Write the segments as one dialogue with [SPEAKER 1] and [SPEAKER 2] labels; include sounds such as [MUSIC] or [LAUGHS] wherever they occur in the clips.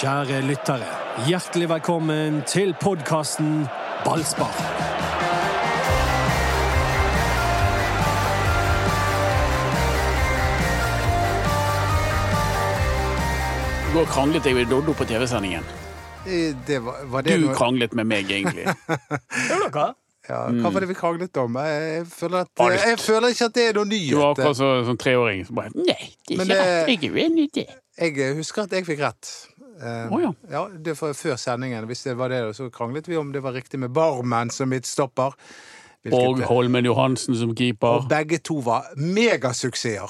[SPEAKER 1] Kjære lyttere, hjertelig velkommen til podkasten Ballspar.
[SPEAKER 2] Du går og kranglet deg med Doddo på TV-sendingen.
[SPEAKER 3] Eh, Det var, var det
[SPEAKER 2] Du
[SPEAKER 3] noe...
[SPEAKER 2] kranglet med meg,
[SPEAKER 3] [LAUGHS]
[SPEAKER 2] egentlig.
[SPEAKER 3] ja, Hva var det vi kranglet om? Jeg, jeg, føler at, eh,
[SPEAKER 2] Alt.
[SPEAKER 3] jeg føler ikke at det er noe
[SPEAKER 2] Du var
[SPEAKER 3] nyhet.
[SPEAKER 2] akkurat så, som sånn treåring. Så bare Nei, det er
[SPEAKER 3] Men
[SPEAKER 2] ikke
[SPEAKER 3] det-
[SPEAKER 2] rett. Jeg er uenig i det.
[SPEAKER 3] Jeg eh, husker at jeg fikk rett. Eh,
[SPEAKER 2] Å, ja.
[SPEAKER 3] det var før sendingen. Hvis det var det, så kranglet vi om det var riktig med barmen som midtstopper.
[SPEAKER 2] Og
[SPEAKER 3] Hvilket-
[SPEAKER 2] Holmen Johansen som keeper.
[SPEAKER 3] og begge to var megasuksesser.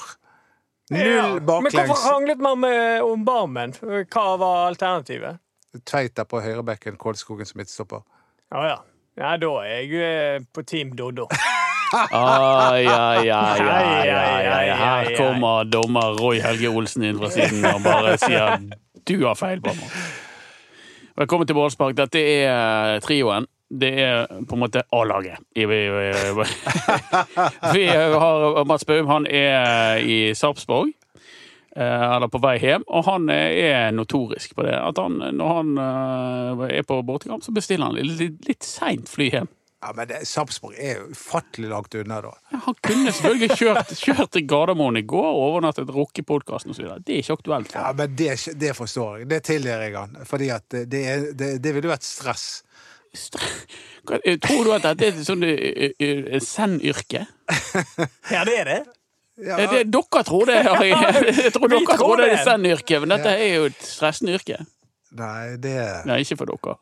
[SPEAKER 4] Ja,
[SPEAKER 3] Null
[SPEAKER 4] Men hvorfor
[SPEAKER 3] baklengs.
[SPEAKER 4] kranglet man med, om barmen? Hva var alternativet?
[SPEAKER 3] Tveita på høyrebekken, Kolskogen som midtstopper.
[SPEAKER 4] Ja, ja. Ja, da er jeg eh, på Team Doddo.
[SPEAKER 2] Ai, ai, ai, ai, ai, ai, ai. Her
[SPEAKER 4] ai.
[SPEAKER 2] kommer dommer Roy Helge Olsen inn fra siden og bare sier du har feil, Bammer. Velkommen til Bårdspark. Dette er eh, trioen. Det er på en måte A-laget. I- i- i- Vi har Mats Baum, han er i Sarpsborg. eh, Eller på vei hjem. Og han eh, er notorisk på det. At han, når han eh, er på bortekamp, så bestiller han litt, litt seint fly hjem.
[SPEAKER 3] Ja, men det- Sarpsborg er jo ufattelig langt unna, da.
[SPEAKER 2] Ja, Han kunne selvfølgelig kjørt, kjørt til Gardermoen i går, overnattet, rukket podkasten osv. Det er ikke aktuelt. for
[SPEAKER 3] Ja,
[SPEAKER 2] ham.
[SPEAKER 3] men det, det forstår jeg. Det tilgir jeg han. Fordi at det, det, er- det, det ville vært stress.
[SPEAKER 2] Hva- eh, Tror du at dette er et sånn eh, eh, send-yrke?
[SPEAKER 4] [LAUGHS] Ja, det er det.
[SPEAKER 3] Ja,
[SPEAKER 2] Eh, det- Dere tror det. Harry. [LAUGHS] Jeg tror
[SPEAKER 4] Vi
[SPEAKER 2] dere
[SPEAKER 4] tror
[SPEAKER 2] tror det er et
[SPEAKER 4] det.
[SPEAKER 2] send-yrke, men dette er jo et stressende yrke.
[SPEAKER 3] Nei, det
[SPEAKER 2] Nei, ikke for dere.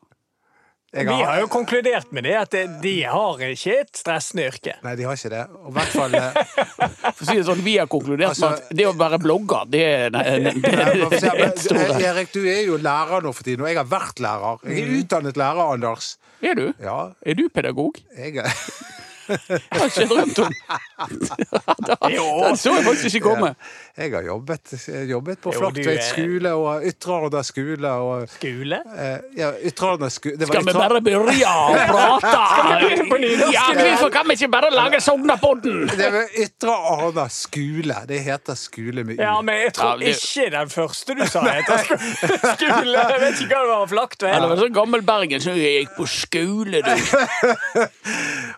[SPEAKER 3] jeg
[SPEAKER 4] Vi har jo konkludert med det at det- de har ikke et stressende yrke.
[SPEAKER 3] Nei, de har ikke det. Og i hvert fall
[SPEAKER 4] [LAUGHS]
[SPEAKER 3] eh,
[SPEAKER 2] For å si det sånn, Vi har konkludert med
[SPEAKER 3] Altså-
[SPEAKER 2] at det å være blogger, det er nei, nei, det
[SPEAKER 3] nei, hva
[SPEAKER 2] er
[SPEAKER 3] skal jeg
[SPEAKER 2] en
[SPEAKER 3] si, men,
[SPEAKER 2] stor
[SPEAKER 3] eh, Erik, du er jo lærer nå for tiden, og jeg har vært lærer. Jeg
[SPEAKER 4] Mm.
[SPEAKER 3] er utdannet lærer, Anders.
[SPEAKER 2] Er du?
[SPEAKER 3] Ja,
[SPEAKER 2] Er du pedagog?
[SPEAKER 3] jeg er
[SPEAKER 2] Jeg har ikke drømt om Den så jeg faktisk ikke komme.
[SPEAKER 3] [LAUGHS] Jeg har jobbet, jeg har jobbet på
[SPEAKER 4] Jo, du
[SPEAKER 3] Flaktveit
[SPEAKER 4] er-
[SPEAKER 3] skole og Ytre Arendal skole og
[SPEAKER 4] Skole?
[SPEAKER 3] eh, Ja, Ytre Arendal skole det var
[SPEAKER 2] Skal vi
[SPEAKER 3] Ytre-
[SPEAKER 2] bare begynne [LAUGHS] å prate? Ja, hvorfor kan vi ikke bare lage Sognapodden?
[SPEAKER 3] Det var Ytre Arendal skole. Det heter skole med U.
[SPEAKER 4] Ja, men jeg
[SPEAKER 2] Mm. Ja,
[SPEAKER 4] tror
[SPEAKER 2] det-
[SPEAKER 4] ikke den første du
[SPEAKER 2] [LAUGHS]
[SPEAKER 4] sa heter sk- skole. Jeg vet ikke hva det var.
[SPEAKER 2] Eller
[SPEAKER 4] Flaktveit?
[SPEAKER 2] var det sånn gammel Bergen, så jeg gikk på skole, [LAUGHS] du.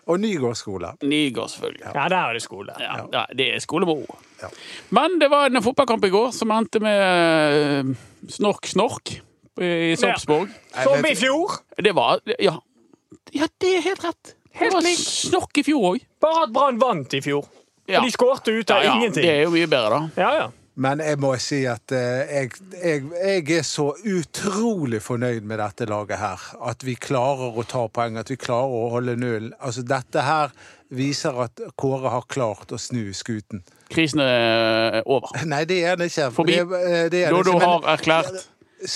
[SPEAKER 3] Og Nygård skole.
[SPEAKER 2] Nygård, selvfølgelig.
[SPEAKER 4] Ja, der er det skole.
[SPEAKER 2] Ja, ja, det er skole med O.
[SPEAKER 3] Ja.
[SPEAKER 2] Men det var en fotballkamp i går som endte med eh, snork-snork i Sarpsborg.
[SPEAKER 4] Som i fjor.
[SPEAKER 2] Det var Ja. Ja, det er helt rett. Det var snork i fjor òg.
[SPEAKER 4] Bare at Brann vant i fjor.
[SPEAKER 2] Ja.
[SPEAKER 4] De skårte ut av
[SPEAKER 2] det
[SPEAKER 4] ingenting.
[SPEAKER 2] er jo mye bedre, da.
[SPEAKER 4] Ja, ja.
[SPEAKER 3] Men jeg må si at eh, jeg, jeg, jeg er så utrolig fornøyd med dette laget her. At vi klarer å ta poeng, at vi klarer å holde null. Altså, dette her viser at Kåre har klart å snu skuten. [LAUGHS]
[SPEAKER 2] Krisen er over.
[SPEAKER 3] Nei, det er det ikke.
[SPEAKER 2] Forbi.
[SPEAKER 3] Det, eh, det er det
[SPEAKER 2] Dodo
[SPEAKER 3] ikke, men-
[SPEAKER 2] har erklært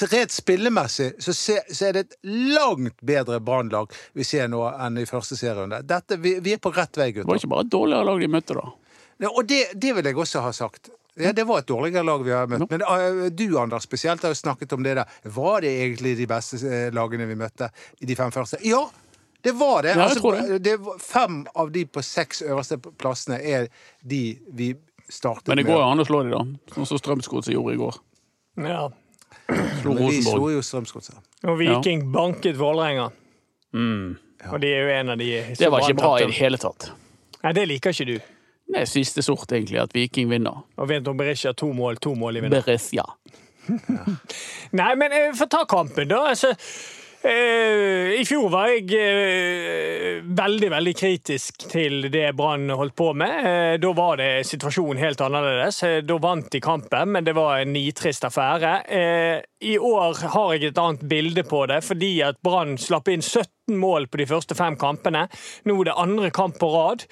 [SPEAKER 3] Så Rent spillemessig så, se, så er det et langt bedre Brann-lag vi ser nå enn i første serierunde. Dette, vi, vi er på rett vei,
[SPEAKER 2] Det var
[SPEAKER 3] gutter.
[SPEAKER 2] ikke bare et dårligere lag de møtte, da.
[SPEAKER 3] Ja, Og det, det vil jeg også ha sagt. Ja, Det var et dårligere lag vi har møtt. Men eh, du, Anders, spesielt har jo snakket om det der. Var det egentlig de beste eh, lagene vi møtte i de fem første? Ja, det var det.
[SPEAKER 2] Ja, jeg tror det.
[SPEAKER 3] var- fem av de på seks øverste plassene er de vi startet
[SPEAKER 2] Men det
[SPEAKER 3] med.
[SPEAKER 2] går jo an å slå de da. Sånn som Strømsgodset gjorde i går.
[SPEAKER 4] ja.
[SPEAKER 2] Slo
[SPEAKER 3] Men vi
[SPEAKER 2] Rosenborg.
[SPEAKER 3] slo jo Strømsgodset.
[SPEAKER 4] Og Viking banket Vålerenga. Og de er jo en av de som
[SPEAKER 2] Mm. Det var ikke
[SPEAKER 4] Brann
[SPEAKER 2] bra i
[SPEAKER 4] tapte.
[SPEAKER 2] det hele tatt.
[SPEAKER 4] Nei, det liker ikke du.
[SPEAKER 2] Det er siste sort, egentlig, at Viking vinner.
[SPEAKER 4] Og Vinton Berisha to mål, to mål i vinner.
[SPEAKER 2] Berissia.
[SPEAKER 4] Nei, men eh, få ta kampen, da. Altså, eh, I fjor var jeg eh, veldig, veldig kritisk til det Brann holdt på med. Eh, da var det situasjonen helt annerledes. Eh, da vant de kampen, men det var en nitrist affære. Eh, I år har jeg et annet bilde på det, fordi at Brann slapp inn 17 mål på de første fem kampene. Nå er det andre kamp på rad.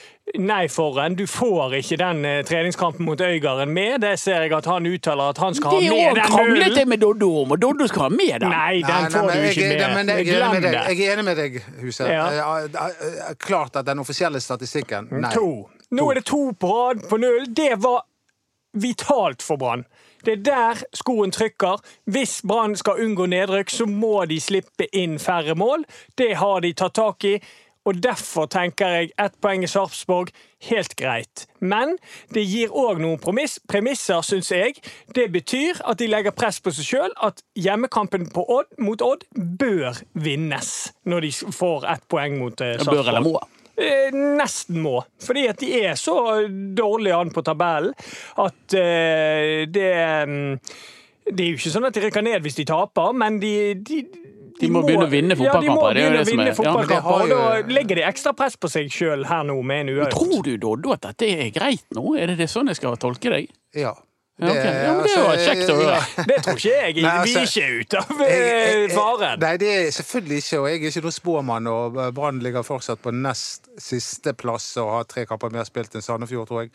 [SPEAKER 4] Nei, Forren, du får ikke den eh, treningskampen mot Øygarden med. Det ser jeg at han uttaler at han skal
[SPEAKER 2] Det er
[SPEAKER 4] ha
[SPEAKER 2] òg
[SPEAKER 4] med den nullen.
[SPEAKER 2] kranglet jeg med Doddo om, og Doddo skal ha med den.
[SPEAKER 4] Nei, den
[SPEAKER 3] Nei,
[SPEAKER 4] får
[SPEAKER 3] nei, men
[SPEAKER 4] du ikke
[SPEAKER 3] jeg,
[SPEAKER 4] med.
[SPEAKER 3] nei, men jeg, er enig
[SPEAKER 4] Glem
[SPEAKER 3] med deg,
[SPEAKER 4] det.
[SPEAKER 3] jeg er enig med deg, Huset. Eh,
[SPEAKER 4] Ja.
[SPEAKER 3] Jeg- jeg- jeg- Klart at den offisielle statistikken
[SPEAKER 2] Mm.
[SPEAKER 3] Nei.
[SPEAKER 4] To. Nå er det to på rad på null. Det var vitalt for Brann. Det er der skoen trykker. Hvis Brann skal unngå nedrykk, så må de slippe inn færre mål. Det har de tatt tak i. Og derfor tenker jeg ett poeng i Sarpsborg, helt greit. Men det gir òg noen premiss, premisser, syns jeg. Det betyr at de legger press på seg sjøl, at hjemmekampen på Odd, mot Odd bør vinnes når de får ett poeng mot eh,
[SPEAKER 2] Bør eller
[SPEAKER 4] Sarpsborg.
[SPEAKER 2] må.
[SPEAKER 4] Eh, Nesten må. Fordi at de er så dårlig an på tabellen at eh, det mm, Det er jo ikke sånn at de rykker ned hvis de taper, men de, de
[SPEAKER 2] De må begynne å vinne
[SPEAKER 4] Ja, de må
[SPEAKER 2] fotballkamper, det er jo
[SPEAKER 4] begynne
[SPEAKER 2] det som er- ja, men
[SPEAKER 3] det
[SPEAKER 4] å vinne fotballkamper,
[SPEAKER 3] har jo-
[SPEAKER 4] og da legger de ekstra press på seg sjøl her nå med en uavgjort.
[SPEAKER 2] Tror du, Doddo, at dette er greit nå? Er det det sånn jeg skal tolke deg?
[SPEAKER 3] Ja.
[SPEAKER 2] Ja, ok. Ja, men det
[SPEAKER 3] altså,
[SPEAKER 2] var kjekt å høre.
[SPEAKER 3] ja.
[SPEAKER 4] Det tror ikke jeg.
[SPEAKER 3] Nei,
[SPEAKER 4] Vi
[SPEAKER 3] altså,
[SPEAKER 4] er ikke ute av
[SPEAKER 3] Jeg- jeg-
[SPEAKER 4] eh,
[SPEAKER 3] jeg-
[SPEAKER 4] faren.
[SPEAKER 3] Nei, det er selvfølgelig ikke. Og jeg er ikke noen spåmann, og Brann ligger fortsatt på nest siste plass og har tre kamper mer spilt enn Sandefjord, tror jeg.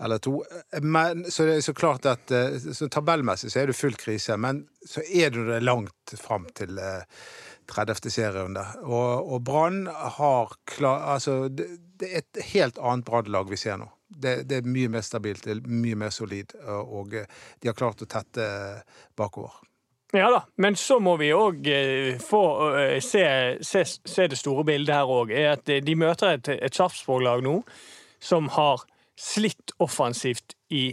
[SPEAKER 3] Eller to. Men, så det er så klart at eh, så tabellmessig så er det full krise, men så er det jo det langt fram til eh, 30. serierunde. Og, og Brann har klar Altså, det, det er et helt annet Brann-lag vi ser nå. Det, det er mye mer stabilt, det er mye mer solid, og eh, de har klart å tette eh, bakover.
[SPEAKER 4] Ja da, men så må vi òg eh, få eh, se, se, se det store bildet her òg. er at eh, De møter et, et Sarpsborg-lag nå som har slitt offensivt i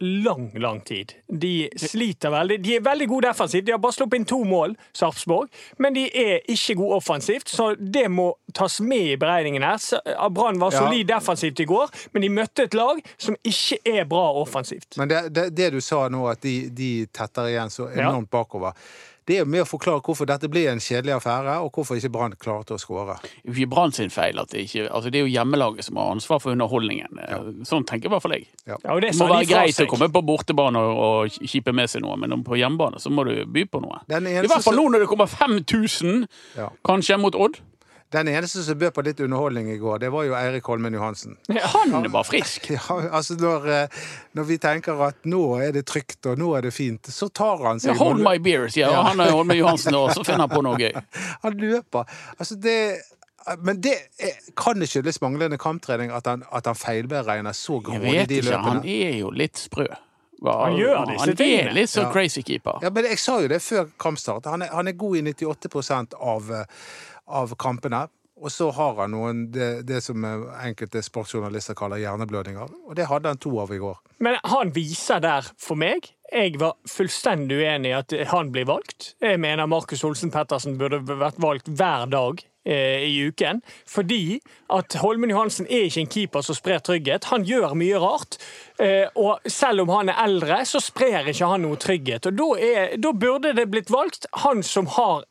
[SPEAKER 4] lang, lang tid. De sliter veldig. De er veldig gode defensivt. De har bare sluppet inn to mål, Sarpsborg, men de er ikke gode offensivt, så det må tas med i beregningen her. Så- eh, Brann var
[SPEAKER 3] Ja.
[SPEAKER 4] solid defensivt i går, men de møtte et lag som ikke er bra offensivt.
[SPEAKER 3] Men det, det, det du sa nå, at de, de tetter igjen så
[SPEAKER 4] Ja.
[SPEAKER 3] enormt bakover, det er jo med å forklare hvorfor dette ble en kjedelig affære, og hvorfor ikke Brann klarte å skåre.
[SPEAKER 2] Det er jo ikke Brann sin feil. At det, ikke, altså det er jo hjemmelaget som har ansvar for underholdningen. Sånn tenker i hvert fall jeg.
[SPEAKER 4] Ja, og
[SPEAKER 2] Det
[SPEAKER 4] det
[SPEAKER 2] må
[SPEAKER 4] sa de
[SPEAKER 2] være
[SPEAKER 4] fra
[SPEAKER 2] greit å
[SPEAKER 4] seg.
[SPEAKER 2] komme på bortebane og, og kjipe med seg noe, men om- på hjemmebane så må du by på noe.
[SPEAKER 3] Den eneste
[SPEAKER 2] I hvert fall
[SPEAKER 3] som-
[SPEAKER 2] nå når det kommer 5000,
[SPEAKER 3] Ja.
[SPEAKER 2] kanskje, mot Odd.
[SPEAKER 3] Den eneste som bød på litt underholdning i går, det var jo Eirik Holmen Johansen. [LAUGHS]
[SPEAKER 2] Han var frisk!
[SPEAKER 3] Ja, altså når, eh, når vi tenker at nå er det trygt, og nå er det fint, så tar han
[SPEAKER 2] Ja,
[SPEAKER 3] seg
[SPEAKER 2] hold my beer, sier jeg. og han er Holmen Johansen, og så finner han på noe
[SPEAKER 3] [LAUGHS]
[SPEAKER 2] gøy.
[SPEAKER 3] Han løper. Altså det men det er- kan det skyldes manglende kamptrening at han, at han feilberegner så
[SPEAKER 2] Jeg
[SPEAKER 3] grådig
[SPEAKER 2] vet
[SPEAKER 3] de
[SPEAKER 2] ikke, han
[SPEAKER 3] løpene.
[SPEAKER 2] er jo litt sprø.
[SPEAKER 4] Han gjør disse
[SPEAKER 2] Han er
[SPEAKER 4] tingene.
[SPEAKER 2] litt sånn
[SPEAKER 3] Ja.
[SPEAKER 2] crazy keeper.
[SPEAKER 3] Ja, men jeg sa jo det før kampstart. Han er, han er god i 98 av, eh, av kampene. Og så har han noen det, det som eh, enkelte sportsjournalister kaller hjerneblødninger. Og det hadde han to av i går.
[SPEAKER 4] Men han viser der for meg Jeg var fullstendig uenig i at han blir valgt. Jeg mener Markus Olsen Pettersen burde vært valgt hver dag eh, i uken. Fordi at Holmen Johansen er ikke en keeper som sprer trygghet. Han gjør mye rart. Eh, og selv om han er eldre, så sprer ikke han noe trygghet. Og da, er, da burde det blitt valgt han som har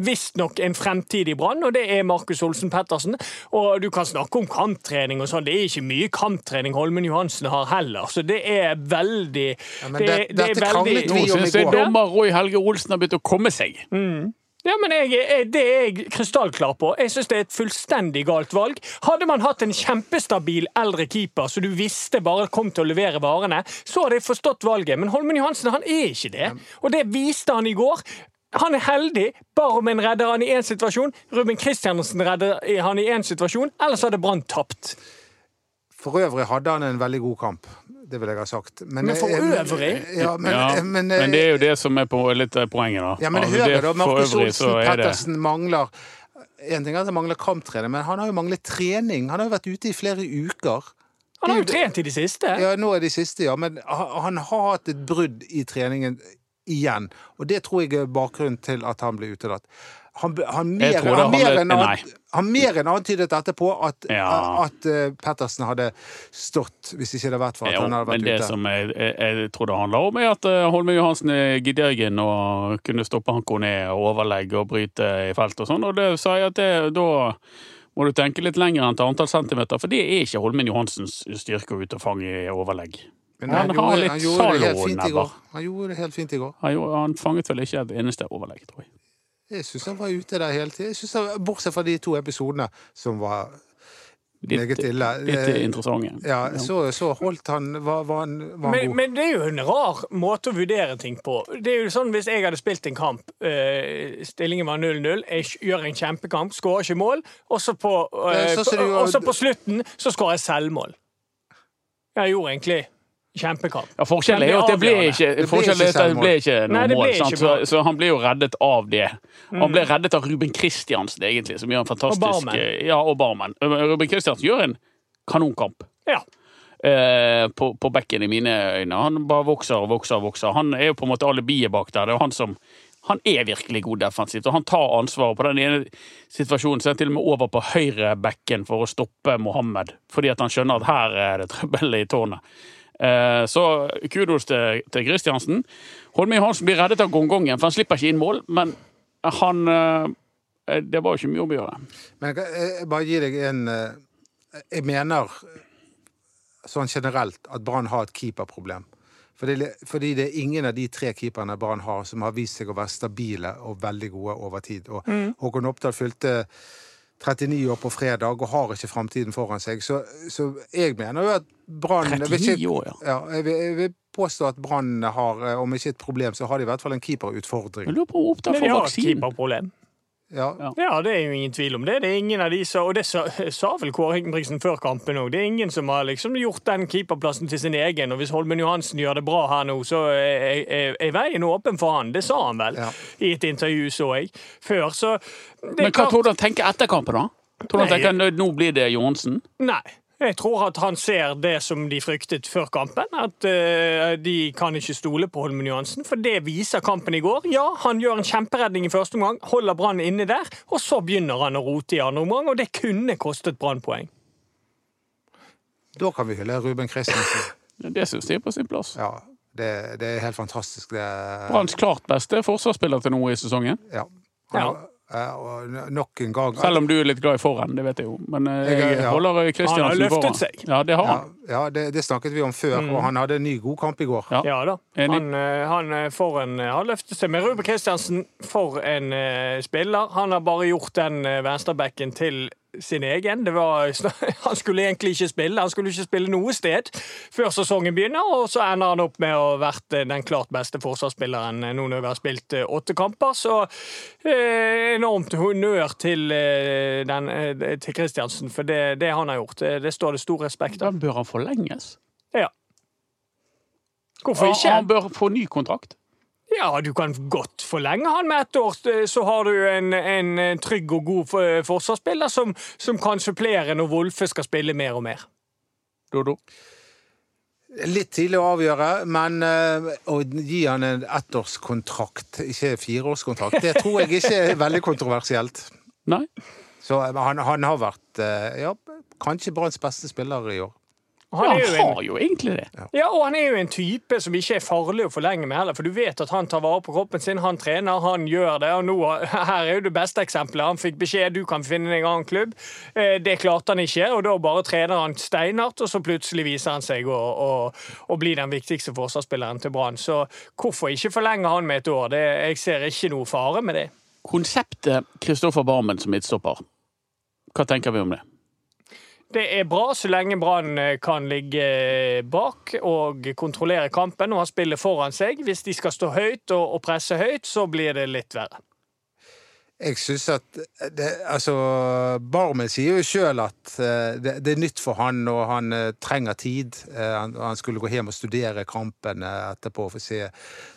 [SPEAKER 4] visstnok en fremtid i Brann, og det er Markus Olsen Pettersen. Og du kan snakke om kamptrening og sånn, det er ikke mye kamptrening Holmen Johansen har heller, så det er veldig
[SPEAKER 3] men
[SPEAKER 4] det,
[SPEAKER 3] det-
[SPEAKER 4] det
[SPEAKER 3] dette
[SPEAKER 4] er veldig,
[SPEAKER 3] kranglet
[SPEAKER 2] Nå
[SPEAKER 3] vi om
[SPEAKER 2] syns
[SPEAKER 3] i
[SPEAKER 2] jeg
[SPEAKER 3] går.
[SPEAKER 2] dommer Roy Helge Olsen har begynt å komme seg.
[SPEAKER 4] Ja, men jeg, jeg, Det er jeg krystallklar på. Jeg syns det er et fullstendig galt valg. Hadde man hatt en kjempestabil eldre keeper som du visste bare kom til å levere varene, så hadde jeg forstått valget. Men Holmen Johansen han er ikke det. Og det viste han i går. Han er heldig. Barmen redder han i én situasjon. Ruben Kristiansen redder han i én situasjon. Ellers hadde Brann tapt.
[SPEAKER 3] For øvrig hadde han en veldig god kamp. Det vil jeg ha sagt.
[SPEAKER 4] Men for
[SPEAKER 3] eh,
[SPEAKER 4] øvrig?
[SPEAKER 3] Ja, men,
[SPEAKER 2] Ja,
[SPEAKER 3] eh,
[SPEAKER 2] men
[SPEAKER 3] eh,
[SPEAKER 2] det er jo det som er på litt av poenget, da.
[SPEAKER 3] Ja, men
[SPEAKER 2] Altså,
[SPEAKER 3] jeg hører
[SPEAKER 2] det-
[SPEAKER 3] da,
[SPEAKER 2] for
[SPEAKER 3] Markus
[SPEAKER 2] øvrig så
[SPEAKER 3] Olsen
[SPEAKER 2] er det-
[SPEAKER 3] Pettersen mangler En ting er at han mangler kamptrening, men han har jo manglet trening. Han har jo vært ute i flere uker.
[SPEAKER 4] Han har jo trent i det siste.
[SPEAKER 3] Ja, nå er de siste, ja, men han han har hatt et brudd i treningen igjen. Og det tror jeg er bakgrunnen til at han ble utelatt. Han, han mer,
[SPEAKER 2] Jeg tror det
[SPEAKER 3] han mer
[SPEAKER 2] handler-
[SPEAKER 3] enn an-
[SPEAKER 2] nei.
[SPEAKER 3] han mer enn antydet etterpå at,
[SPEAKER 2] Ja.
[SPEAKER 3] at eh, Pettersen hadde stått, hvis ikke det hadde vært for at
[SPEAKER 2] Jo,
[SPEAKER 3] han hadde
[SPEAKER 2] men
[SPEAKER 3] vært
[SPEAKER 2] det
[SPEAKER 3] ute.
[SPEAKER 2] som jeg, jeg, jeg tror det handler om, er at eh, Holmen Johansen er gedigen og kunne stoppe Hanko ned og overlegge og bryte i felt og sånn, og det sa jeg at det, da må du tenke litt lenger enn til antall centimeter, for det er ikke Holmen Johansens styrke å ut og fange i overlegg.
[SPEAKER 3] Men
[SPEAKER 2] han har litt
[SPEAKER 3] gjorde det helt fint i
[SPEAKER 2] salonebber.
[SPEAKER 3] går. Han gjorde det helt fint i går.
[SPEAKER 2] Han, gjorde- han fanget vel ikke et eneste overlegg, tror jeg.
[SPEAKER 3] Jeg syns han var ute der hele tiden. Jeg synes han, bortsett fra de to episodene som var
[SPEAKER 2] Litt,
[SPEAKER 3] Meget ille. Eh,
[SPEAKER 2] litt interessante.
[SPEAKER 3] Ja, så, så holdt han Var, var han, var han
[SPEAKER 4] Men,
[SPEAKER 3] god?
[SPEAKER 4] men det er jo en rar måte å vurdere ting på. Det er jo sånn Hvis jeg hadde spilt en kamp, eh, stillingen var 0-0, jeg sk- gjør en kjempekamp, skårer ikke mål, og så på, eh,
[SPEAKER 3] Ja, så ser
[SPEAKER 4] på,
[SPEAKER 3] du jo-
[SPEAKER 4] og så på slutten så skårer jeg selvmål. Jeg gjorde egentlig Kjempekamp.
[SPEAKER 2] Ja, forskjellen er jo at det ble
[SPEAKER 4] avgjørende.
[SPEAKER 2] ikke,
[SPEAKER 3] ble
[SPEAKER 2] forskjellen er
[SPEAKER 3] ikke
[SPEAKER 2] at det ble ikke noe
[SPEAKER 4] Nei, det ble
[SPEAKER 2] mål.
[SPEAKER 4] ikke Mm.
[SPEAKER 2] Sant? Så,
[SPEAKER 4] mål.
[SPEAKER 2] så han ble jo reddet av det. Han ble reddet av Ruben Kristiansen, egentlig, som gjør en fantastisk
[SPEAKER 4] Og Barmen.
[SPEAKER 2] Ja, og Barmen. Ruben Kristiansen gjør en kanonkamp
[SPEAKER 4] Ja.
[SPEAKER 2] eh, på, på bekken, i mine øyne. Han bare vokser og vokser og vokser. Han er jo på en måte alibiet bak der. Det er jo han som han er virkelig god defensivt, og han tar ansvaret. På den ene situasjonen så er han til og med over på høyrebekken for å stoppe Mohammed, fordi at han skjønner at her er det trøbbel i tårnet. Eh, Så kudos til, til Kristiansen. Holmøy Hansen blir reddet av gongongen, for han slipper ikke inn mål, men han eh, Det var jo ikke mye om å gjøre.
[SPEAKER 3] Men jeg, kan- jeg bare gi deg en eh, Jeg mener sånn generelt at Brann har et keeperproblem. Fordi, fordi det er ingen av de tre keeperne Brann har, som har vist seg å være stabile og veldig gode over tid. Og Håkon Oppdal fylte 39 år på fredag og har ikke framtiden foran seg. Så, så jeg mener jo at Brann jeg vet
[SPEAKER 2] 39
[SPEAKER 3] ikke-
[SPEAKER 2] år, ja.
[SPEAKER 3] jeg, vil, jeg vil påstå at Brann har, eh, om ikke et problem, så har de i hvert fall en keeperutfordring.
[SPEAKER 2] Jeg lurer på om Oppdal
[SPEAKER 4] Men de
[SPEAKER 2] får
[SPEAKER 4] har et
[SPEAKER 2] vaksinen.
[SPEAKER 4] keeperproblem.
[SPEAKER 3] Ja.
[SPEAKER 2] Ja.
[SPEAKER 4] Ja, det er jo ingen tvil om det. Det er ingen av de som, Og det sa, [LAUGHS] sa vel Kåre Ingebrigtsen før kampen òg. Det er ingen som har liksom gjort den keeperplassen til sin egen. Og hvis Holmen Johansen gjør det bra her nå, så er, er, er veien åpen for han. Det sa han vel
[SPEAKER 3] Ja.
[SPEAKER 4] i et intervju, så jeg, før. Så det
[SPEAKER 2] Men hva tror du han tenker etter kampen, da? Tror du han
[SPEAKER 4] Nei,
[SPEAKER 2] tenker nå- nå blir det Johansen?
[SPEAKER 4] Nei. Jeg tror at han ser det som de fryktet før kampen, at eh, de kan ikke stole på Holmen Johansen. For det viser kampen i går. Ja, han gjør en kjemperedning i første omgang, holder Brann inne der, og så begynner han å rote i andre omgang, og det kunne kostet Brann poeng.
[SPEAKER 3] Da kan vi hylle Ruben Christensen.
[SPEAKER 2] Det syns jeg er på sin plass.
[SPEAKER 3] Ja, det, det er helt fantastisk. Det,
[SPEAKER 2] Branns klart beste forsvarsspiller til nå i sesongen.
[SPEAKER 3] Ja.
[SPEAKER 4] Ja.
[SPEAKER 3] Og- og nok en gang
[SPEAKER 2] Selv om du er litt glad i forhånd, det vet jeg jo. Men eh,
[SPEAKER 3] Jeg er-
[SPEAKER 2] jeg
[SPEAKER 3] ja.
[SPEAKER 2] holder Kristiansen
[SPEAKER 4] Han har løftet
[SPEAKER 2] foran.
[SPEAKER 4] seg.
[SPEAKER 2] Ja, det har
[SPEAKER 3] ja,
[SPEAKER 2] han.
[SPEAKER 3] ja, det, det snakket vi om før, og han hadde en ny god kamp i går.
[SPEAKER 2] Mm. Ja.
[SPEAKER 4] Ja da.
[SPEAKER 2] Enig.
[SPEAKER 4] Han, eh, han, eh, får en, eh, han løftet seg med Ruben Kristiansen for en eh, spiller. Han har bare gjort den eh, venstrebacken til sin egen. Det var, [LAUGHS] sn- han skulle egentlig ikke spille. Han skulle ikke spille noe sted før sesongen begynner, og så ender han opp med å ha vært eh, den klart beste forsvarsspilleren eh, nå når vi har spilt eh, åtte kamper. Så eh, enormt honnør til, eh, den, eh, til Kristiansen for det, det han har gjort. Eh, Det, det står det stor respekt
[SPEAKER 2] Da
[SPEAKER 4] av.
[SPEAKER 2] bør han forlenges.
[SPEAKER 4] Ja. Hvorfor
[SPEAKER 2] Han,
[SPEAKER 4] ikke?
[SPEAKER 2] han bør få ny kontrakt.
[SPEAKER 4] Ja, du kan godt forlenge han med ett år, eh, så har du en, en eh, trygg og god for- forsvarsspiller som, som kan supplere når Wolfe skal spille mer og mer.
[SPEAKER 2] Dodo.
[SPEAKER 3] Litt tidlig å avgjøre, men eh, å gi han en ettårskontrakt, ikke fireårskontrakt, det tror jeg ikke er veldig kontroversielt.
[SPEAKER 2] Nei.
[SPEAKER 3] Så eh, han, han har vært eh, ja, kanskje Branns beste spiller i år.
[SPEAKER 4] Og
[SPEAKER 2] Ja,
[SPEAKER 4] er
[SPEAKER 2] han
[SPEAKER 4] jo en-
[SPEAKER 2] har jo egentlig det.
[SPEAKER 4] Ja, og han er jo en type som ikke er farlig å forlenge med heller, for du vet at han tar vare på kroppen sin, han trener, han gjør det, og nå, [LAUGHS] her er jo det beste eksempelet. Han fikk beskjed, du kan finne deg en annen klubb. Eh, Det klarte han ikke, og da bare trener han steinhardt, og så plutselig viser han seg å, å, å bli den viktigste forsvarsspilleren til Brann. Så hvorfor ikke forlenge han med et år? Det, jeg ser ikke noe fare med det.
[SPEAKER 2] Konseptet Kristoffer Barmen som midtstopper, hva tenker vi om det?
[SPEAKER 4] Det er bra så lenge Brann eh, kan ligge eh, bak og kontrollere kampen og ha spillet foran seg. Hvis de skal stå høyt og, og presse høyt, så blir det litt verre.
[SPEAKER 3] Jeg syns at det, Altså, Barmen sier jo sjøl at eh, det, det er nytt for han, og han eh, trenger tid. Eh, han, han skulle gå hjem og studere kampen eh, etterpå for å se.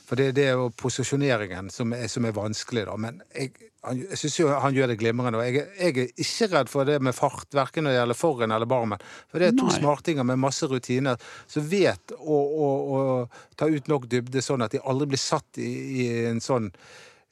[SPEAKER 3] For det, det er jo posisjoneringen som er, som er vanskelig, da. Men jeg, han, jeg syns jo han gjør det glimrende. Og jeg, jeg er ikke redd for det med fart, verken når det gjelder Forhen eller Barmen. For det er to
[SPEAKER 2] Nei.
[SPEAKER 3] smartinger med masse rutiner som vet å, å, å ta ut nok dybde, sånn at de aldri blir satt i, i en sånn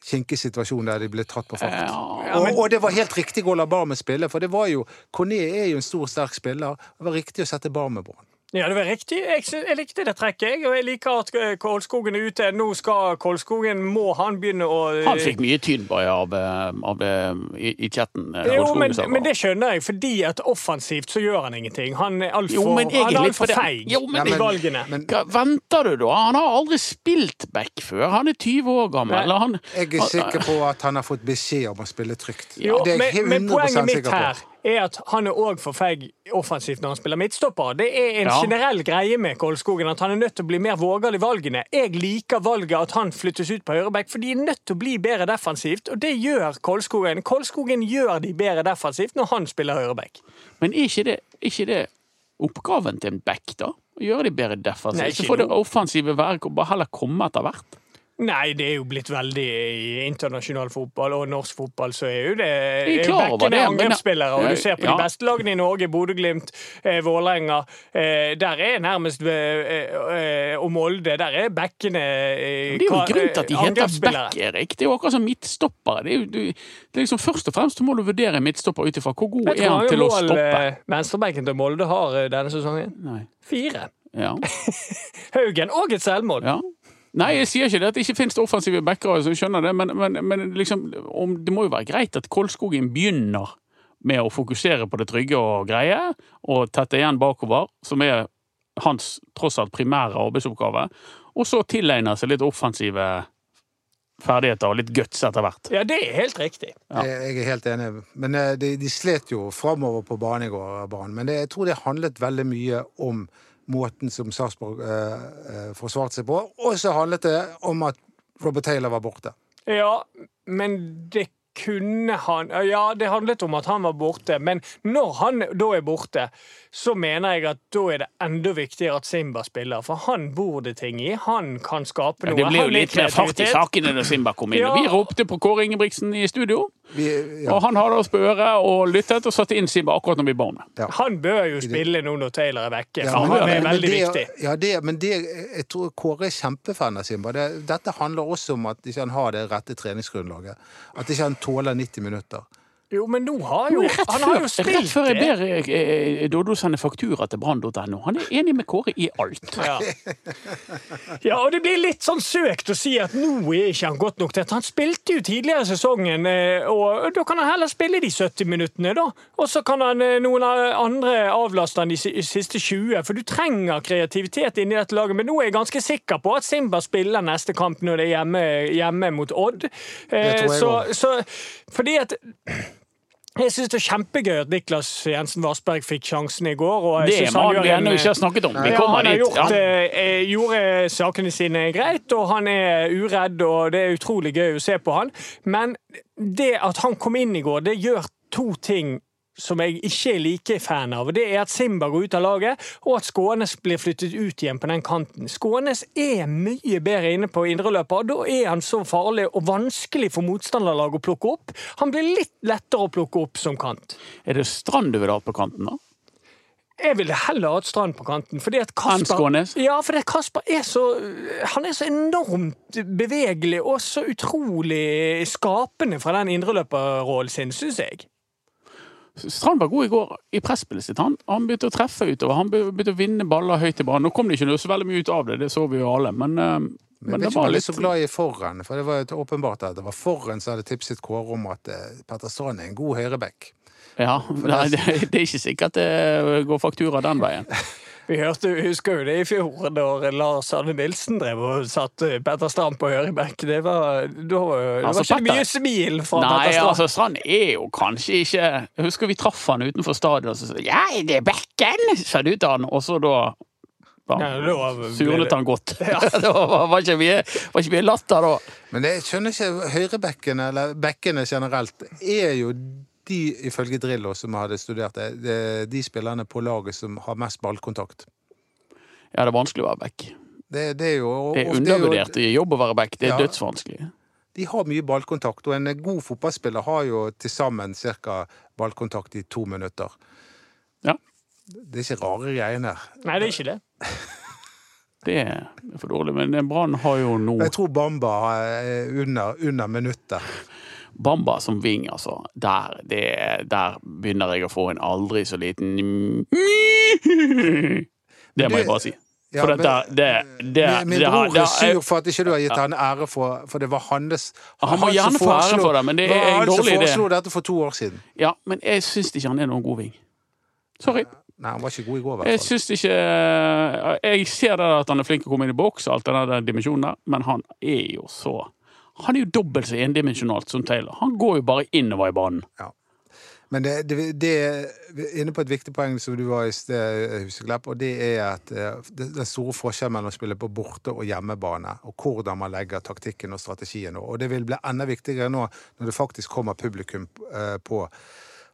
[SPEAKER 3] kinkig situasjon der de ble tatt på fart. og, og det var helt riktig å la Barmen spille, for det var jo Kone er jo en stor, sterk spiller. Det var riktig å sette Barmen på han.
[SPEAKER 4] Ja, det var riktig. Jeg, sy- jeg likte det trekket, jeg. Og jeg liker at eh, Kolskogen er ute. Nå skal Kolskogen Må han begynne å eh,
[SPEAKER 2] Han fikk mye tynn bare av, eh, av, eh, i, i chatten. eh,
[SPEAKER 4] jo,
[SPEAKER 2] Rolf
[SPEAKER 4] men,
[SPEAKER 2] Skogesaker.
[SPEAKER 4] men det skjønner jeg, fordi at offensivt så gjør han ingenting. Han er
[SPEAKER 2] Jo,
[SPEAKER 4] altfor
[SPEAKER 2] men egentlig
[SPEAKER 4] alt for
[SPEAKER 2] fordi-
[SPEAKER 4] feig
[SPEAKER 2] Jo, men-
[SPEAKER 4] i valgene.
[SPEAKER 3] men
[SPEAKER 2] Hva venter du, da? Han har aldri spilt back før. Han er 20 år gammel.
[SPEAKER 4] Nei.
[SPEAKER 2] Eller han,
[SPEAKER 3] jeg er sikker på at han har fått beskjed om å spille trygt.
[SPEAKER 4] Jo,
[SPEAKER 3] det er jeg
[SPEAKER 4] men, men
[SPEAKER 3] 100
[SPEAKER 4] poenget mitt
[SPEAKER 3] sikker på.
[SPEAKER 4] her er at han er òg for feig offensivt når han spiller midtstopper. Det er en
[SPEAKER 2] Ja.
[SPEAKER 4] generell greie med Kolskogen at han er nødt til å bli mer vågal i valgene. Jeg liker valget at han flyttes ut på høyreback, for de er nødt til å bli bedre defensivt, og det gjør Kolskogen. Kolskogen gjør de bedre defensivt når han spiller høyreback.
[SPEAKER 2] Men er ikke det, er ikke det oppgaven til en back, da? Å gjøre de bedre
[SPEAKER 4] Nei,
[SPEAKER 2] defensivt?
[SPEAKER 4] ikke
[SPEAKER 2] Så får det
[SPEAKER 4] nå.
[SPEAKER 2] offensive være bare heller komme etter hvert.
[SPEAKER 4] Nei, det er jo blitt veldig i internasjonal fotball og norsk fotball, så er jo det
[SPEAKER 2] Jeg er
[SPEAKER 4] er jo
[SPEAKER 2] klar over
[SPEAKER 4] bekkene
[SPEAKER 2] det, men-
[SPEAKER 4] angrepsspillere. Og du ser på
[SPEAKER 2] Ja.
[SPEAKER 4] de beste lagene i Norge, Bodø-Glimt, eh, Vålerenga. Eh, der er nærmest eh, eh, Og Molde. Der er bekkene eh,
[SPEAKER 2] Det er jo
[SPEAKER 4] ka-
[SPEAKER 2] en grunn til at de
[SPEAKER 4] eh,
[SPEAKER 2] heter
[SPEAKER 4] angrepsspillere.
[SPEAKER 2] back, Erik. Det er jo akkurat som midtstoppere. Det er jo, du, det er liksom, først og fremst så må du vurdere en midtstopper ut ifra hvor god
[SPEAKER 4] Vet du
[SPEAKER 2] er han
[SPEAKER 4] hvor mange
[SPEAKER 2] til å
[SPEAKER 4] mål
[SPEAKER 2] stoppe.
[SPEAKER 4] eh, venstrebenken til Molde har eh, denne sesongen?
[SPEAKER 2] Nei.
[SPEAKER 4] Fire.
[SPEAKER 2] Ja.
[SPEAKER 4] Haugen og et selvmål.
[SPEAKER 2] Ja. Nei, jeg sier ikke det at det ikke finnes offensive backere, så jeg skjønner det, men, men, men liksom, om, det må jo være greit at Kolskogen begynner med å fokusere på det trygge og greie, og tette igjen bakover, som er hans tross alt primære arbeidsoppgave, og så tilegne seg litt offensive ferdigheter og litt guts etter hvert.
[SPEAKER 4] Ja, det er helt riktig.
[SPEAKER 2] Ja.
[SPEAKER 3] Jeg jeg er helt enig. Men eh, de, de slet jo framover på banen i går. Brann. Men det, jeg tror det handlet veldig mye om måten som Sarpsborg eh, eh, forsvarte seg på. Og så handlet det om at Robert Taylor var borte.
[SPEAKER 4] Ja, men det kunne han Ja, det handlet om at han var borte, men når han da er borte, så mener jeg at da er det enda viktigere at Simba spiller, for han bor det ting i. Han kan skape noe.
[SPEAKER 2] Det ble jo
[SPEAKER 4] Han
[SPEAKER 2] litt mer fart i
[SPEAKER 4] kreativitet.
[SPEAKER 2] sakene da Simba kom inn.
[SPEAKER 4] Ja.
[SPEAKER 2] og Vi ropte på Kåre Ingebrigtsen i studio,
[SPEAKER 3] Vi, ja,
[SPEAKER 2] og han hadde oss på øret og lyttet og satte inn Simba akkurat når vi ba om det.
[SPEAKER 4] Han bør jo spille nå når Taylor er vekke,
[SPEAKER 3] ja,
[SPEAKER 4] for
[SPEAKER 2] men-
[SPEAKER 4] han er
[SPEAKER 3] men
[SPEAKER 4] veldig
[SPEAKER 3] det,
[SPEAKER 4] viktig.
[SPEAKER 3] Ja, det, men det, jeg tror Kåre er kjempefan av Simba. Det, dette handler også om at ikke han har det rette treningsgrunnlaget. At ikke han tåler 90 minutter.
[SPEAKER 4] Jo, men nå har
[SPEAKER 2] Jo,
[SPEAKER 4] jo
[SPEAKER 2] rett,
[SPEAKER 4] Han
[SPEAKER 2] før,
[SPEAKER 4] har jo
[SPEAKER 2] rett
[SPEAKER 4] spilt
[SPEAKER 2] før jeg
[SPEAKER 4] det.
[SPEAKER 2] ber eh, eh, Dodo sende faktura til brann.no. Han er enig med Kåre i alt.
[SPEAKER 4] Ja. [LAUGHS] ja, og det blir litt sånn søkt å si at nå er ikke han godt nok til dette. Han spilte jo tidligere i sesongen, eh, og da kan han heller spille de 70 minuttene, da. Og så kan han eh, noen av- andre avlaste han de si- siste 20, for du trenger kreativitet inni dette laget. Men nå er jeg ganske sikker på at Simba spiller neste kamp når det er hjemme, hjemme mot Odd. Eh,
[SPEAKER 3] Det tror jeg
[SPEAKER 4] så,
[SPEAKER 3] også.
[SPEAKER 4] så, fordi at jeg syns det er kjempegøy at Niklas Jensen Vassberg fikk sjansen i går. Og jeg
[SPEAKER 2] Det er
[SPEAKER 4] synes han
[SPEAKER 2] mannen
[SPEAKER 4] gjør
[SPEAKER 2] vi
[SPEAKER 4] en- eh,
[SPEAKER 2] ennå ikke har snakket om. Vi
[SPEAKER 4] ja,
[SPEAKER 2] kommer
[SPEAKER 4] han har
[SPEAKER 2] dit.
[SPEAKER 4] gjort,
[SPEAKER 2] Ja.
[SPEAKER 4] eh, eh, gjorde sakene sine greit, og han er uredd, og det er utrolig gøy å se på han. Men det at han kom inn i går, det gjør to ting som jeg ikke er like fan av. Det er at Simba går ut av laget, og at Skånes blir flyttet ut igjen på den kanten. Skånes er mye bedre inne på indreløper, og da er han så farlig og vanskelig for motstanderlaget å plukke opp. Han blir litt lettere å plukke opp som kant.
[SPEAKER 2] Er det Strand du vil ha på kanten, da?
[SPEAKER 4] Jeg ville heller hatt Strand på kanten. Fordi at
[SPEAKER 2] Enn
[SPEAKER 4] Kasper,
[SPEAKER 2] Skånes?
[SPEAKER 4] ja, fordi at Kasper er så Han er så enormt bevegelig og så utrolig skapende fra den indreløperrollen sin, syns jeg.
[SPEAKER 2] Strand var god i går i presspillet sitt. Han, han begynte å treffe utover. Han be- begynte å vinne baller høyt i banen. Nå kom det ikke noe så veldig mye ut av det, det så vi jo alle, men, eh,
[SPEAKER 3] Men
[SPEAKER 2] men
[SPEAKER 3] jeg
[SPEAKER 2] det
[SPEAKER 3] vet ikke om
[SPEAKER 2] var
[SPEAKER 3] jeg er
[SPEAKER 2] litt
[SPEAKER 3] så glad i Forren, for det var jo åpenbart at det var Forren som hadde tipset Kåre om at eh, Petter Strand er en god høyreback.
[SPEAKER 2] Ja, [LAUGHS] nei, det, det er ikke sikkert det går faktura den veien.
[SPEAKER 4] Vi hørte, husker jo det i fjor, da Lars Arne Nilsen drev og satte Petter Strand på høyrebekk. Det var, da, det
[SPEAKER 2] Altså,
[SPEAKER 4] var ikke
[SPEAKER 2] Petter-
[SPEAKER 4] mye smil fra
[SPEAKER 2] Nei,
[SPEAKER 4] Petter Strand.
[SPEAKER 2] altså Strand er jo kanskje ikke Jeg husker vi traff han utenfor stadion og så sa han, Ja, det er bekken, sa du til han, og så da da
[SPEAKER 4] Ja, da var-
[SPEAKER 2] surnet han godt. [LAUGHS] det var, var, ikke mye, var ikke mye latter da.
[SPEAKER 3] Men jeg skjønner ikke høyrebekkene, eller bekkene generelt, er jo de, ifølge Drillo, som hadde studert det, det er de spillerne på laget som har mest ballkontakt.
[SPEAKER 2] Ja, det er vanskelig å være back.
[SPEAKER 3] Det, det er jo
[SPEAKER 2] Det er
[SPEAKER 3] ofte er jo-
[SPEAKER 2] undervurdert i jobb å være back. Det er
[SPEAKER 3] Ja.
[SPEAKER 2] dødsvanskelig.
[SPEAKER 3] De har mye ballkontakt, og en god fotballspiller har jo til sammen ca. ballkontakt i to minutter.
[SPEAKER 2] Ja,
[SPEAKER 3] Det er ikke rare greiene her.
[SPEAKER 2] Oh.
[SPEAKER 4] Nei, det er ikke det.
[SPEAKER 2] det er det er for dårlig. Men Brann har jo nå
[SPEAKER 3] Jeg tror Bamba er under, under minuttet.
[SPEAKER 2] Bamba som ving, altså. Der, det, der begynner jeg å få en aldri så liten Det må jeg bare si.
[SPEAKER 3] Ja,
[SPEAKER 2] For
[SPEAKER 3] men-
[SPEAKER 2] dette, det, det,
[SPEAKER 3] Min, min
[SPEAKER 2] det har-
[SPEAKER 3] bror
[SPEAKER 2] det
[SPEAKER 3] er
[SPEAKER 2] har-
[SPEAKER 3] sur for at ikke du har gitt han ære for For det var hans
[SPEAKER 2] Han må
[SPEAKER 3] som
[SPEAKER 2] gjerne få ære
[SPEAKER 3] foreslo-
[SPEAKER 2] for det, men det er en
[SPEAKER 3] han som
[SPEAKER 2] dårlig idé.
[SPEAKER 3] foreslo dette for to år siden.
[SPEAKER 2] Ja, men jeg syns ikke han er noen god ving. Sorry.
[SPEAKER 3] Nei, han var ikke god i går, i
[SPEAKER 2] Jeg
[SPEAKER 3] hvert fall.
[SPEAKER 2] syns ikke eh, Jeg ser det at han er flink til å komme inn i boks, og alt den der dimensjonen der, men han er jo så Han er jo dobbelt så endimensjonalt som Taylor. Han går jo bare innover i banen.
[SPEAKER 3] Men det, det, det er inne på et viktig poeng som du var i sted, Huseklepp, og det er at eh, det- den store forskjellen mellom å spille på borte- og hjemmebane, og hvordan man legger taktikken og strategien. Og det vil bli enda viktigere nå når det faktisk kommer publikum eh, på,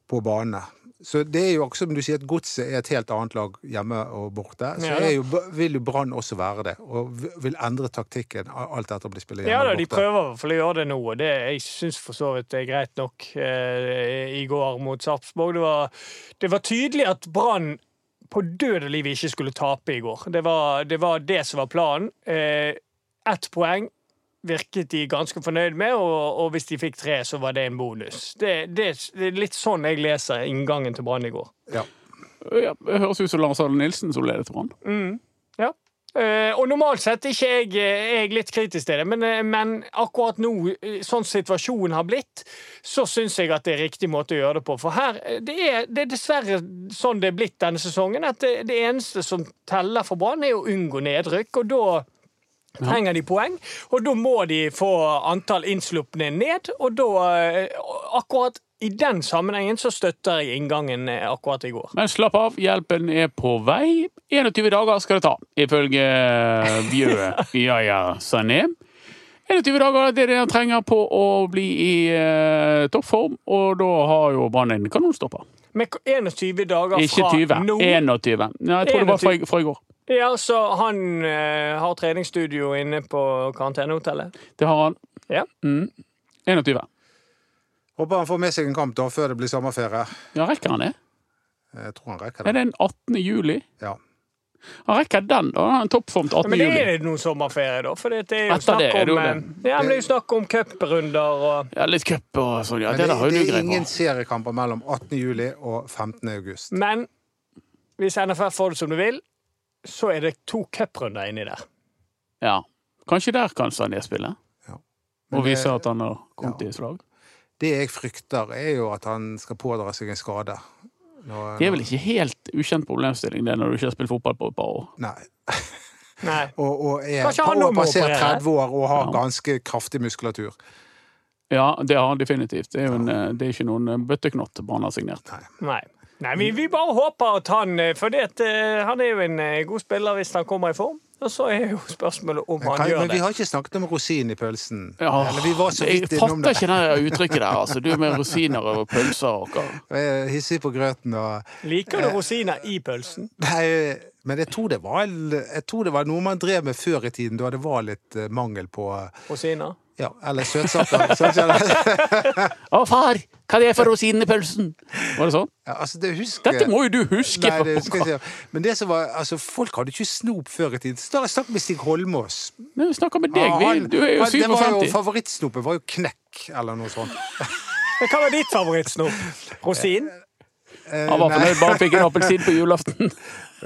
[SPEAKER 3] på banene. Så det er jo også, som du sier, at Godset er et helt annet lag hjemme og borte. Så
[SPEAKER 4] Ja, da.
[SPEAKER 3] er jo, vil jo Brann også være det, og v- vil endre taktikken alt etter om de spiller
[SPEAKER 4] Ja
[SPEAKER 3] hjemme
[SPEAKER 4] da,
[SPEAKER 3] og
[SPEAKER 4] de
[SPEAKER 3] borte.
[SPEAKER 4] prøver i hvert fall å gjøre det nå, og det jeg syns for så vidt er greit nok eh, i går mot Sarpsborg. Det var, det var tydelig at Brann på død og liv ikke skulle tape i går. Det var det, var det som var planen. Eh, ett poeng virket de ganske fornøyd med, og, og hvis de fikk tre, så var det en bonus. Det, det, det er litt sånn jeg leser inngangen til Brann i går.
[SPEAKER 3] Ja.
[SPEAKER 2] Ja, det høres ut som Lars Arne Nilsen som ledet Brann.
[SPEAKER 4] Ja. Eh, og normalt sett er ikke jeg, er jeg litt kritisk til det, men, eh, men akkurat nå, eh, sånn situasjonen har blitt, så syns jeg at det er riktig måte å gjøre det på. For her, eh, det er, det er dessverre sånn det er blitt denne sesongen, at det, det eneste som teller for Brann, er å unngå nedrykk, og da trenger de poeng, og da må de få antall innslupne ned, og da eh, akkurat i den sammenhengen så støtter jeg inngangen eh, akkurat i går.
[SPEAKER 2] Men slapp av, hjelpen er på vei. 21 dager skal det ta, ifølge Bjø Yaya Sané. sånn 21 dager det er det han trenger på å bli i eh, toppform, og da har jo Brann en kanonstopper.
[SPEAKER 4] Med 21 dager
[SPEAKER 2] Ikke
[SPEAKER 4] fra
[SPEAKER 2] 20,
[SPEAKER 4] nå
[SPEAKER 2] 21. Nei, jeg tror det var fra, i- fra i går.
[SPEAKER 4] Ja, så han eh, har treningsstudio inne på karantenehotellet.
[SPEAKER 2] Det har han.
[SPEAKER 4] Ja.
[SPEAKER 2] Mm. 21.
[SPEAKER 3] Håper han får med seg en kamp da, før det blir sommerferie.
[SPEAKER 2] Ja, rekker han det?
[SPEAKER 3] Jeg tror han rekker
[SPEAKER 2] Er
[SPEAKER 3] det.
[SPEAKER 2] det en 18. juli?
[SPEAKER 3] Ja.
[SPEAKER 2] Han rekker den, da. Han er toppformt 18.
[SPEAKER 4] Men det
[SPEAKER 2] juli.
[SPEAKER 4] er det noen sommerferie, da? For det er jo
[SPEAKER 2] Etter
[SPEAKER 4] snakk
[SPEAKER 2] det er det
[SPEAKER 4] om,
[SPEAKER 2] jo
[SPEAKER 4] eh,
[SPEAKER 2] det.
[SPEAKER 4] ja, men det er jo snakk om cuprunder og
[SPEAKER 2] Ja, litt cup og sånn. Ja,
[SPEAKER 3] Men
[SPEAKER 2] det,
[SPEAKER 3] det,
[SPEAKER 2] der har jo du
[SPEAKER 3] det er
[SPEAKER 2] greie
[SPEAKER 3] ingen
[SPEAKER 2] på.
[SPEAKER 3] seriekamper mellom 18. juli og 15. august.
[SPEAKER 4] Men hvis NFF får det som du vil, så er det to cuprunder inni der.
[SPEAKER 2] Ja. Kanskje der kan Sané spille?
[SPEAKER 3] Ja. Men
[SPEAKER 2] Og
[SPEAKER 3] det-
[SPEAKER 2] vise at han har kommet i slag?
[SPEAKER 3] Det jeg frykter, er jo at han skal pådra seg en skade. Nå-
[SPEAKER 2] Det er vel ikke helt ukjent problemstilling det når du ikke har spilt fotball på et par år.
[SPEAKER 3] Nei.
[SPEAKER 4] Nei.
[SPEAKER 3] Og, og er
[SPEAKER 4] Kanskje han nå
[SPEAKER 3] og
[SPEAKER 4] må
[SPEAKER 3] passert
[SPEAKER 4] operere?
[SPEAKER 3] 30 år og har
[SPEAKER 2] Ja.
[SPEAKER 3] ganske kraftig muskulatur.
[SPEAKER 2] Ja, det har han definitivt. Det er, jo en, eh, det er ikke noen eh, bøtteknott Brann har signert.
[SPEAKER 4] Nei. Nei, vi, vi bare håper at han eh, For det, at, eh, han er jo en eh, god spiller hvis han kommer i form. Og så er jo spørsmålet om
[SPEAKER 3] Men,
[SPEAKER 4] han
[SPEAKER 3] kan,
[SPEAKER 4] gjør
[SPEAKER 3] men vi
[SPEAKER 4] det.
[SPEAKER 3] har ikke snakket om rosinen i pølsen.
[SPEAKER 2] Ja,
[SPEAKER 3] Eller vi var så
[SPEAKER 2] jeg
[SPEAKER 3] vidt innom
[SPEAKER 2] fatter
[SPEAKER 3] det.
[SPEAKER 2] ikke det der uttrykket der. Altså, du med rosiner og pølser
[SPEAKER 3] [LAUGHS]
[SPEAKER 2] og hva.
[SPEAKER 3] Jeg er Hissig på grøten og
[SPEAKER 4] Liker
[SPEAKER 3] Eh.
[SPEAKER 4] du rosiner i pølsen?
[SPEAKER 3] Nei, men jeg tror, det var, jeg tror det var noe man drev med før i tiden, da det var litt eh, mangel på
[SPEAKER 4] Rosiner?
[SPEAKER 3] Ja,
[SPEAKER 2] [LAUGHS]
[SPEAKER 3] eller søtsaker. søtsaker.
[SPEAKER 2] Å, far! Hva er det for rosin i pølsen? Var det sånn?
[SPEAKER 3] Ja, altså, det husker
[SPEAKER 2] Dette må jo du huske!
[SPEAKER 3] Nei, det
[SPEAKER 2] for
[SPEAKER 3] husker jeg ikke. Men det som var, altså, folk hadde ikke snop før i tiden. Snakk snakk med Stig Holmås.
[SPEAKER 2] Nei, vi snakker med deg. Vi,
[SPEAKER 3] Ah, Han-
[SPEAKER 2] du er jo
[SPEAKER 3] han- det var jo
[SPEAKER 2] 57.
[SPEAKER 3] Favorittsnopet var jo knekk, eller noe sånt.
[SPEAKER 4] Men Hva var ditt favorittsnop? Rosin?
[SPEAKER 3] Eh,
[SPEAKER 2] Han var
[SPEAKER 3] nei,
[SPEAKER 2] fornøyd, bare fikk
[SPEAKER 3] [LAUGHS]
[SPEAKER 2] en appelsin på julaften.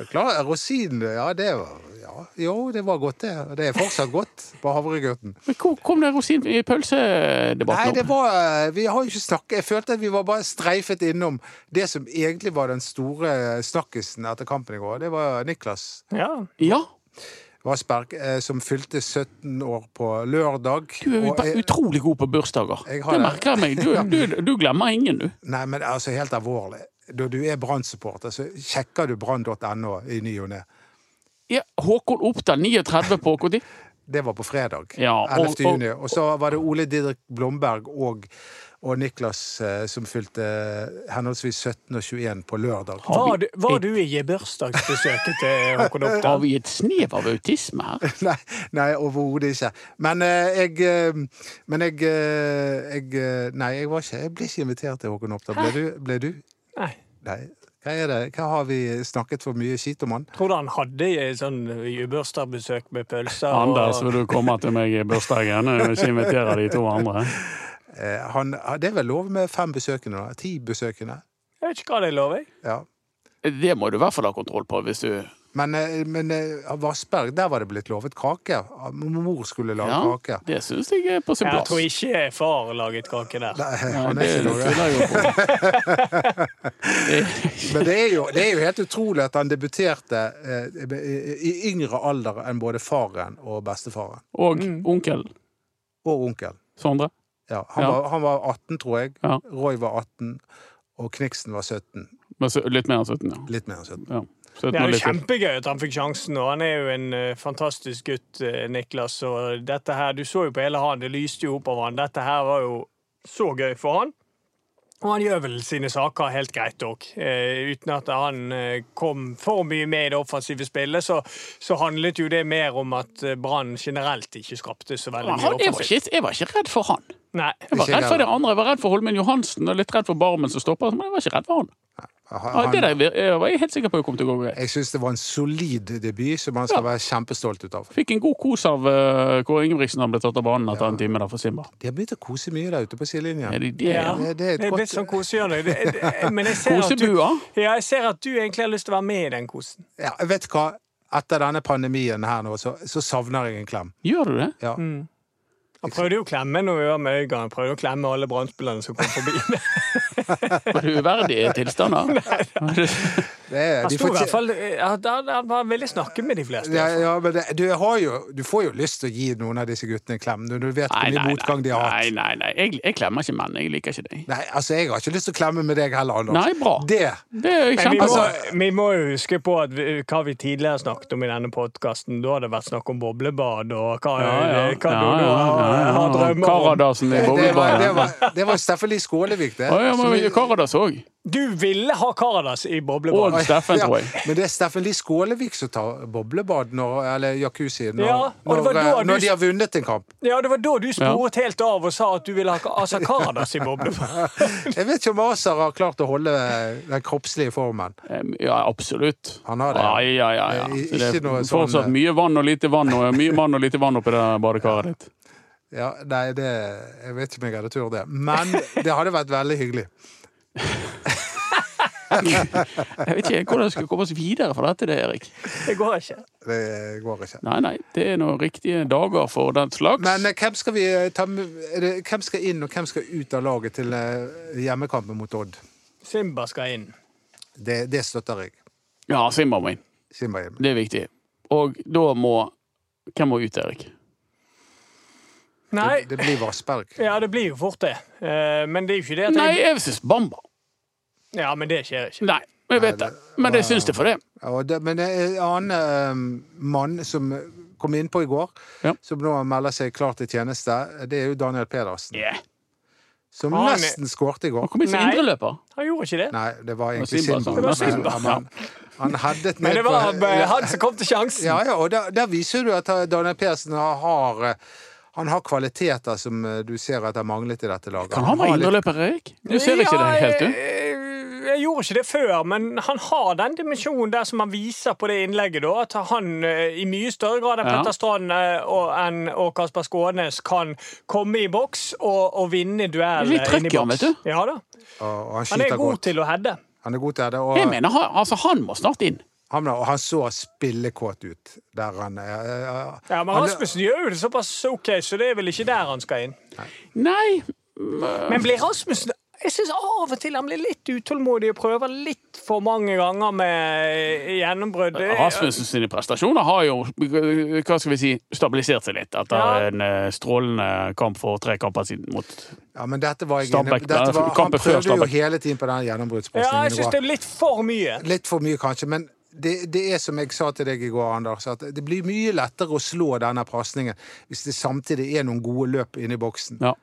[SPEAKER 3] Klar, rosin, ja, det var ja, Jo, det var godt, det. Og Det er fortsatt godt på havregrøten.
[SPEAKER 2] Men hvor kom det rosin i
[SPEAKER 3] Nei,
[SPEAKER 2] pølsedebatten
[SPEAKER 3] det
[SPEAKER 2] opp?
[SPEAKER 3] var eh, Vi har jo ikke snakket Jeg følte at vi var bare streifet innom det som egentlig var den store snakkisen etter kampen i går. Det var Niklas
[SPEAKER 4] Ja.
[SPEAKER 2] Ja,
[SPEAKER 3] Vassberg, eh, som fylte 17 år på lørdag.
[SPEAKER 2] du er jo
[SPEAKER 3] Og eh, jeg-
[SPEAKER 2] utrolig god på bursdager.
[SPEAKER 3] Jeg har
[SPEAKER 2] Det
[SPEAKER 3] det.
[SPEAKER 2] merker jeg
[SPEAKER 3] [LAUGHS]
[SPEAKER 2] meg. Du, du, du glemmer ingen, du.
[SPEAKER 3] Nei, men altså, helt alvorlig. Når du er Brann-supporter, så sjekker du brann.no i ny og ne.
[SPEAKER 2] Ja, Håkon Oppdal, 39 på KT. [LAUGHS]
[SPEAKER 3] Det var på fredag.
[SPEAKER 2] Ja, og-
[SPEAKER 3] 11. juni.
[SPEAKER 2] og-
[SPEAKER 3] Og så var det Ole Didrik Blomberg og, og Niklas eh, som fylte eh, henholdsvis 17 og 21 på lørdag.
[SPEAKER 4] Var du, var du i gebursdagsbesøket til Håkon
[SPEAKER 2] Har
[SPEAKER 4] Oppdal?
[SPEAKER 2] vi et snev av autisme her?
[SPEAKER 3] [LAUGHS] Nei, nei overhodet ikke. Men eh, jeg eh, Men jeg, eh, jeg eh, Nei, jeg var ikke Jeg ble ikke invitert til Håkon Oppdal. Ble du? Ble du?
[SPEAKER 4] Nei.
[SPEAKER 3] Nei. Hva er det? Hva har vi snakket for mye skit om han?
[SPEAKER 4] Tror du han hadde eh, sånn gebursdagsbesøk med pølser? og-
[SPEAKER 2] Anders, vil du komme til meg i bursdagen? Jeg vil ikke invitere de to andre.
[SPEAKER 3] Eh, han det er vel lov med fem besøkende? da? Ti besøkende?
[SPEAKER 4] Jeg vet ikke hva det lover. jeg.
[SPEAKER 3] Ja.
[SPEAKER 2] Det må du i hvert fall ha kontroll på. hvis du...
[SPEAKER 3] Men, eh, men eh, Vassberg, der var det blitt lovet kake. Mor skulle lage
[SPEAKER 2] Ja,
[SPEAKER 3] kake.
[SPEAKER 2] Det syns jeg er på sin
[SPEAKER 4] Jeg
[SPEAKER 2] plass.
[SPEAKER 4] tror ikke far laget kake der.
[SPEAKER 3] Nei,
[SPEAKER 2] Ja,
[SPEAKER 3] han
[SPEAKER 2] det
[SPEAKER 3] er ikke noe.
[SPEAKER 2] tviler jeg jo på.
[SPEAKER 3] Men det er, jo, det er jo helt utrolig at han debuterte eh, i yngre alder enn både faren og bestefaren. [LAUGHS]
[SPEAKER 2] [LAUGHS] Og onkel
[SPEAKER 3] Og onkelen.
[SPEAKER 2] Sondre.
[SPEAKER 3] Ja, han,
[SPEAKER 2] Ja.
[SPEAKER 3] Var, han var 18, tror jeg.
[SPEAKER 2] Ja.
[SPEAKER 3] Roy var 18. Og Kniksen var 17.
[SPEAKER 2] Men så- Litt mer enn 17, ja.
[SPEAKER 3] Litt mer enn 17.
[SPEAKER 2] ja. 17
[SPEAKER 4] Det
[SPEAKER 2] og
[SPEAKER 4] er jo
[SPEAKER 2] litt til.
[SPEAKER 4] kjempegøy at han fikk sjansen, og han er jo en eh, fantastisk gutt, eh, Niklas. Og dette her, du så jo på hele han, det lyste jo opp av han. Dette her var jo så gøy for han. Og han gjør vel sine saker helt greit òg. Eh, uten at han eh, kom for mye med i det offensive spillet, så, så handlet jo det mer om at eh, Brann generelt ikke skapte så veldig mye
[SPEAKER 2] Han, jeg, var
[SPEAKER 4] offensivt.
[SPEAKER 2] ikke, jeg var ikke redd for han.
[SPEAKER 4] Nei.
[SPEAKER 2] Jeg var
[SPEAKER 3] Ikke
[SPEAKER 2] redd for det
[SPEAKER 3] heller.
[SPEAKER 2] andre. Jeg var redd for Holmen Johansen og litt redd for Barmen som stopper. Men jeg var ikke redd for han. Ja,
[SPEAKER 3] Han,
[SPEAKER 2] det der vir- jeg var jeg helt sikker på kom til å gå greit.
[SPEAKER 3] jeg syns det var en solid debut som han skal
[SPEAKER 2] Ja.
[SPEAKER 3] være kjempestolt ut av.
[SPEAKER 2] Fikk en god kos av eh, Kåre Ingebrigtsen da han ble tatt av banen etter en time der for Simba.
[SPEAKER 3] De har begynt å kose mye der ute på sidelinjen.
[SPEAKER 2] Er det det?
[SPEAKER 4] Ja,
[SPEAKER 3] Det- det
[SPEAKER 4] det
[SPEAKER 3] er
[SPEAKER 4] er
[SPEAKER 3] et godt-
[SPEAKER 4] blitt sånn kosehjørne. Det- det- Men jeg ser, at du,
[SPEAKER 2] Kosebua?
[SPEAKER 4] ja, jeg ser at du egentlig har lyst til å være med i den kosen.
[SPEAKER 3] Ja, vet du hva? Etter denne pandemien her nå, så, så savner jeg en klem.
[SPEAKER 2] Gjør du det?
[SPEAKER 3] Ja.
[SPEAKER 4] Han prøvde jo å klemme når vi var med Øygarden. Han Prøvde å klemme alle brannspillerne som kom forbi.
[SPEAKER 2] Var det uverdige
[SPEAKER 4] [LAUGHS]
[SPEAKER 2] tilstander?
[SPEAKER 3] Det er,
[SPEAKER 4] Han
[SPEAKER 3] de
[SPEAKER 4] sto i
[SPEAKER 3] fortje-
[SPEAKER 4] hvert fall eh, Han han var veldig snakke med de fleste. i
[SPEAKER 3] ja,
[SPEAKER 4] hvert fall.
[SPEAKER 3] ja, men det, du, har jo, du får jo lyst til å gi noen av disse guttene en klem når du vet hvor mye motgang de har hatt.
[SPEAKER 2] nei, nei, nei. Jeg, jeg klemmer ikke menn. Jeg liker ikke deg.
[SPEAKER 3] Nei, altså, jeg har ikke lyst til å klemme med deg heller, Anders.
[SPEAKER 2] Nei, bra.
[SPEAKER 3] Det
[SPEAKER 2] Det er
[SPEAKER 4] Men vi, må,
[SPEAKER 2] kjempe...
[SPEAKER 3] Altså-
[SPEAKER 4] vi må jo huske på at vi, hva vi tidligere snakket om i denne podkasten. Da har det vært snakk om boblebad og hva, eh,
[SPEAKER 2] Ja, ja.
[SPEAKER 4] hva du nå har, har drømmer om.
[SPEAKER 2] Karadasen i
[SPEAKER 3] det var, det
[SPEAKER 2] boblebadet.
[SPEAKER 3] var, det var Steffen Lie Skålevik, det.
[SPEAKER 2] Å ja, men
[SPEAKER 3] Som vi-
[SPEAKER 2] Karadas òg.
[SPEAKER 4] Du ville ha Karadas i boblebad.
[SPEAKER 2] Og- Steffen, tror jeg.
[SPEAKER 3] Men det er Steffen Lie Skålevik som tar boblebad, når, eller jacuzzi, når,
[SPEAKER 4] Ja, og det
[SPEAKER 3] når,
[SPEAKER 4] var da
[SPEAKER 3] eh,
[SPEAKER 4] du-
[SPEAKER 3] når de har vunnet en kamp.
[SPEAKER 4] Ja, Det var da du sporet helt av og sa at du ville ha Ka- altså, Karadas i
[SPEAKER 2] [LAUGHS]
[SPEAKER 4] boblebad.
[SPEAKER 3] Jeg vet ikke om Azar har klart å holde den kroppslige formen.
[SPEAKER 2] Em, Ja, absolutt.
[SPEAKER 3] Han har det, ja.
[SPEAKER 2] Ja, ja, ja, ja.
[SPEAKER 3] Det er
[SPEAKER 2] Så det
[SPEAKER 3] ikke noe
[SPEAKER 2] er
[SPEAKER 3] sånn-
[SPEAKER 2] fortsatt mye vann og lite vann og mye vann og lite vann oppi det badekaret
[SPEAKER 3] [LAUGHS]
[SPEAKER 2] ditt.
[SPEAKER 3] Ja, nei, det, jeg vet ikke om jeg hadde tur det. Men det hadde vært veldig hyggelig.
[SPEAKER 2] Jeg vet ikke hvordan vi skal komme oss videre fra dette, det, Erik.
[SPEAKER 4] Det går ikke.
[SPEAKER 3] Det går ikke.
[SPEAKER 2] Nei, nei, det er noen riktige dager for den slags.
[SPEAKER 3] Men eh, hvem skal, vi eh, ta, med- er det, hvem skal inn, og hvem skal ut av laget til eh, hjemmekampen mot Odd?
[SPEAKER 4] Simba skal inn.
[SPEAKER 3] Det, det støtter jeg.
[SPEAKER 2] Ja, Simba må inn.
[SPEAKER 3] Simbaim.
[SPEAKER 2] Det er viktig. Og da må Hvem må ut, Erik?
[SPEAKER 4] Nei,
[SPEAKER 3] Det blir Vassberg.
[SPEAKER 4] ja, det blir jo fort det. Eh, Men det er jo ikke det at
[SPEAKER 2] Nei,
[SPEAKER 4] jeg
[SPEAKER 2] jeg syns Bamba.
[SPEAKER 4] Ja, men det skjer ikke.
[SPEAKER 2] Nei, jeg vet det. Men jeg syns det for det.
[SPEAKER 3] Ja, og det, men det er en annen eh, mann som kom innpå i går,
[SPEAKER 2] Ja.
[SPEAKER 3] som nå melder seg klar til tjeneste, det er jo Daniel Pedersen.
[SPEAKER 2] Yeah.
[SPEAKER 3] Som
[SPEAKER 4] Han er-
[SPEAKER 3] nesten skårte i går.
[SPEAKER 2] Han kom inn som
[SPEAKER 4] Nei.
[SPEAKER 2] indreløper.
[SPEAKER 4] Han gjorde ikke det.
[SPEAKER 3] Nei, det var egentlig
[SPEAKER 2] Simba
[SPEAKER 3] Simba.
[SPEAKER 2] som- Det
[SPEAKER 4] var Simba.
[SPEAKER 3] Men- men- han hadde et
[SPEAKER 4] Men det var
[SPEAKER 3] nedpå-
[SPEAKER 4] eh, han som kom til sjansen.
[SPEAKER 3] Ja, ja, og der, der viser du at Daniel Persen har, har eh, han har kvaliteter som eh, du ser at har manglet i dette laget.
[SPEAKER 2] Kan han være
[SPEAKER 3] har litt-
[SPEAKER 2] indreløper, Erik? Du ser ikke det helt, du.
[SPEAKER 4] Jeg, eh, jeg gjorde ikke det før, men han har den dimensjonen der som han viser på det innlegget. da, At han eh, i mye større grad enn
[SPEAKER 2] Ja.
[SPEAKER 4] Petter Strand eh, og, enn- og Kasper Skånes kan komme i boks og, og vinne duell.
[SPEAKER 2] Litt
[SPEAKER 4] eh,
[SPEAKER 2] trøkk
[SPEAKER 4] inn i
[SPEAKER 2] i han,
[SPEAKER 4] boks.
[SPEAKER 2] vet
[SPEAKER 4] Ja da.
[SPEAKER 3] og, og han
[SPEAKER 4] Han
[SPEAKER 3] skyter
[SPEAKER 4] er god
[SPEAKER 3] godt.
[SPEAKER 4] til å heade.
[SPEAKER 3] Han er god til det.
[SPEAKER 2] Jeg
[SPEAKER 3] Og
[SPEAKER 2] mener, han- altså, han må snart inn.
[SPEAKER 3] han, og han så spillekåt ut der han er. eh,
[SPEAKER 4] Ja, Men
[SPEAKER 3] Han-
[SPEAKER 4] Rasmussen gjør jo det såpass OK, så det er vel ikke der han skal inn.
[SPEAKER 2] Nei,
[SPEAKER 4] Men blir Rasmussen jeg synes Av og til han blir litt utålmodig og prøver litt for mange ganger med eh, gjennombrudd.
[SPEAKER 2] Rasmussen sine prestasjoner har jo hva skal vi si, stabilisert seg litt etter
[SPEAKER 4] Ja.
[SPEAKER 2] en eh, strålende kamp for tre kamper siden mot
[SPEAKER 3] Ja, men dette var jeg inne
[SPEAKER 2] Stabæk,
[SPEAKER 3] dette
[SPEAKER 2] der,
[SPEAKER 3] var, Han
[SPEAKER 2] kampen før
[SPEAKER 3] prøvde jo
[SPEAKER 2] Stabæk.
[SPEAKER 3] hele tiden på den gjennombruddspasningen.
[SPEAKER 4] Ja,
[SPEAKER 3] i
[SPEAKER 4] jeg syns
[SPEAKER 3] går.
[SPEAKER 4] det er litt for mye.
[SPEAKER 3] Litt for mye, kanskje. men det, det er som jeg sa til deg i går, Anders, at det blir mye lettere å slå denne pasningen hvis det samtidig er noen gode løp inne i boksen.
[SPEAKER 2] Ja,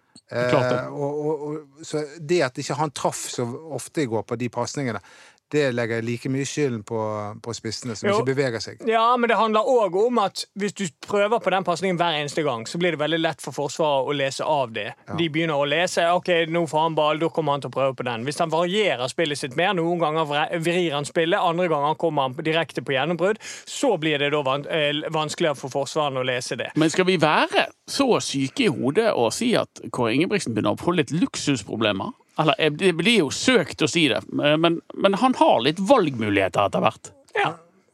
[SPEAKER 2] klart det.
[SPEAKER 3] Eh, og, og, og, så det at ikke han traff så ofte i går på de pasningene, det legger jeg like mye skylden på, på spissene, som
[SPEAKER 4] Jo.
[SPEAKER 3] ikke beveger seg.
[SPEAKER 4] Ja, men det handler òg om at hvis du prøver på den pasningen hver eneste gang, så blir det veldig lett for Forsvaret å lese av det. De begynner å lese. OK, nå får han ball, da kommer han til å prøve på den. Hvis han varierer spillet sitt mer, noen ganger vre- vrir han spillet, andre ganger kommer han direkte på gjennombrudd, så blir det da van eh, vanskeligere for Forsvaret å lese det.
[SPEAKER 2] Men skal vi være så syke i hodet og si at Kåre Ingebrigtsen begynner å få litt luksusproblemer? Eller, eh, Det blir jo søkt å si det, eh, men, men han har litt valgmuligheter etter hvert.
[SPEAKER 4] Ja.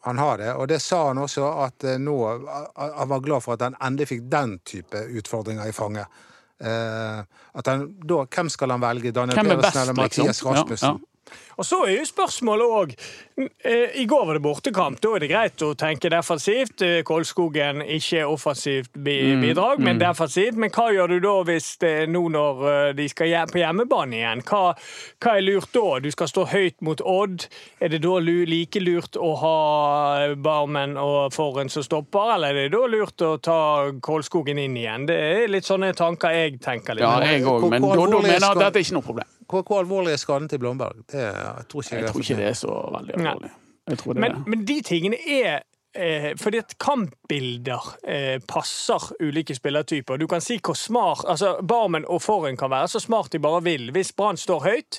[SPEAKER 3] Han har det, og det sa han også, at eh, nå a- a- Han var glad for at han endelig fikk den type utfordringer i fanget. Eh, at han, da, hvem skal han velge? Daniel
[SPEAKER 2] Hvem er
[SPEAKER 3] Pedersen
[SPEAKER 2] best,
[SPEAKER 3] eller
[SPEAKER 2] liksom?
[SPEAKER 3] Mathias
[SPEAKER 2] Ja,
[SPEAKER 3] Rasmussen?
[SPEAKER 2] ja.
[SPEAKER 4] Og så er jo spørsmålet òg I går var det bortekamp. Da er det greit å tenke defensivt. Eh, Kolskogen ikke offensivt bi- bidrag, men defensivt. Men hva gjør du da hvis det, nå når eh, de skal hjem, på hjemmebane igjen? Hva, hva er lurt da? Du skal stå høyt mot Odd. Er det da lu- like lurt å ha eh, Barmen og Forhen som stopper, eller er det da lurt å ta Kolskogen inn igjen? Det er litt sånne tanker jeg tenker litt
[SPEAKER 2] Ja,
[SPEAKER 4] på.
[SPEAKER 2] jeg òg, men
[SPEAKER 3] Hvor-
[SPEAKER 2] Doddo
[SPEAKER 3] hvor-
[SPEAKER 2] mener at
[SPEAKER 3] skal-
[SPEAKER 2] dette er ikke noe problem.
[SPEAKER 3] Hvor, hvor alvorlig er skaden til Blomberg? Det, jeg tror ikke,
[SPEAKER 2] Jeg
[SPEAKER 3] er
[SPEAKER 2] tror
[SPEAKER 3] for
[SPEAKER 2] ikke
[SPEAKER 3] mye.
[SPEAKER 2] det er så veldig
[SPEAKER 4] Nei.
[SPEAKER 2] alvorlig. Jeg tror det
[SPEAKER 4] Men,
[SPEAKER 2] er.
[SPEAKER 4] men de tingene er eh, fordi at kampbilder eh, passer ulike spillertyper. Du kan si hvor smart altså Barmen og Forhen kan være så smart de bare vil. Hvis Brann står høyt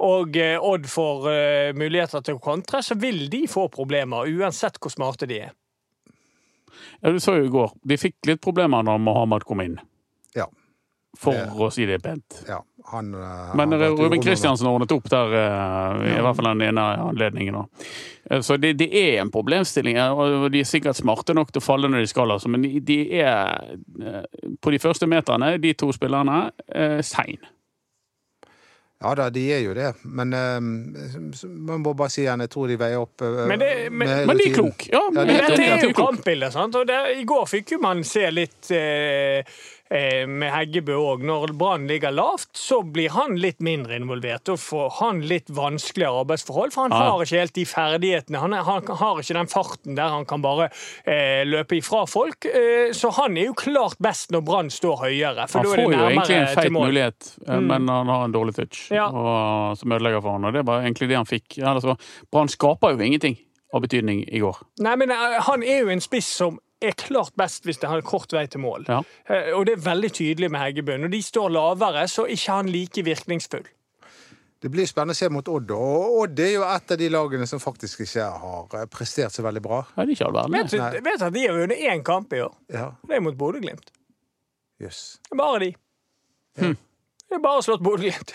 [SPEAKER 4] og eh, Odd får eh, muligheter til å kontre, så vil de få problemer, uansett hvor smarte de er.
[SPEAKER 2] Ja, du så jo i går. De fikk litt problemer når Mohammed kom inn,
[SPEAKER 3] Ja,
[SPEAKER 2] for
[SPEAKER 3] Ja.
[SPEAKER 2] å si det pent.
[SPEAKER 3] ja. Han, eh,
[SPEAKER 2] Men
[SPEAKER 3] han vet jo
[SPEAKER 2] Ruben
[SPEAKER 3] rommet.
[SPEAKER 2] Kristiansen ordnet opp der, eh, i hvert fall den ene anledningen. da. Eh, Så det, det er en problemstilling, eh, og de er sikkert smarte nok til å falle når de skal, altså, men de, de er, eh, på de første meterne, de to spillerne, eh, sein.
[SPEAKER 3] Ja da, de er jo det. Men eh, s- man må bare si igjen, jeg tror de veier opp eh,
[SPEAKER 4] Men det- men-
[SPEAKER 3] med
[SPEAKER 2] Men de er
[SPEAKER 3] rutinen.
[SPEAKER 2] kloke. Ja,
[SPEAKER 3] Ja, de
[SPEAKER 4] Men
[SPEAKER 3] er
[SPEAKER 2] helt
[SPEAKER 4] dette
[SPEAKER 2] enig,
[SPEAKER 4] er
[SPEAKER 2] de
[SPEAKER 4] jo
[SPEAKER 2] er kloke.
[SPEAKER 4] kampbilder, sant? og det, i går fikk jo man se litt eh, eh, med Heggebø òg. Når Brann ligger lavt, så blir han litt mindre involvert. Og får han litt vanskeligere arbeidsforhold, for han
[SPEAKER 2] Ja.
[SPEAKER 4] har ikke helt de ferdighetene. Han, er, han har ikke den farten der han kan bare eh, løpe ifra folk. Eh, så han er jo klart best når Brann står høyere, for
[SPEAKER 2] Han
[SPEAKER 4] da
[SPEAKER 2] får
[SPEAKER 4] er
[SPEAKER 2] jo
[SPEAKER 4] det
[SPEAKER 2] egentlig en
[SPEAKER 4] nærmere
[SPEAKER 2] feit
[SPEAKER 4] til mål. Mm.
[SPEAKER 2] mulighet, eh, men han har en dårlig touch
[SPEAKER 4] Ja.
[SPEAKER 2] og, som ødelegger for han, og det var egentlig det han fikk. Ellers var- Brann skaper jo ingenting av betydning i går.
[SPEAKER 4] Nei, men eh, han er jo en spiss som er klart best hvis det har kort vei til mål.
[SPEAKER 2] Ja.
[SPEAKER 4] Eh, Og det er veldig tydelig med Heggebø. Når de står lavere, så er ikke han like virkningsfull.
[SPEAKER 3] Det blir spennende å se mot Odd. da. Og Odd er jo et av de lagene som faktisk ikke har eh, prestert så veldig bra.
[SPEAKER 2] Ja, det er ikke all verden.
[SPEAKER 4] Vet du
[SPEAKER 2] det.
[SPEAKER 3] Nei.
[SPEAKER 4] vet du at de har vunnet én kamp i år?
[SPEAKER 3] Ja,
[SPEAKER 4] Det er mot Bodø-Glimt.
[SPEAKER 3] jøss.
[SPEAKER 4] Det er Bare de. Det er bare å slått Bodø-Glimt.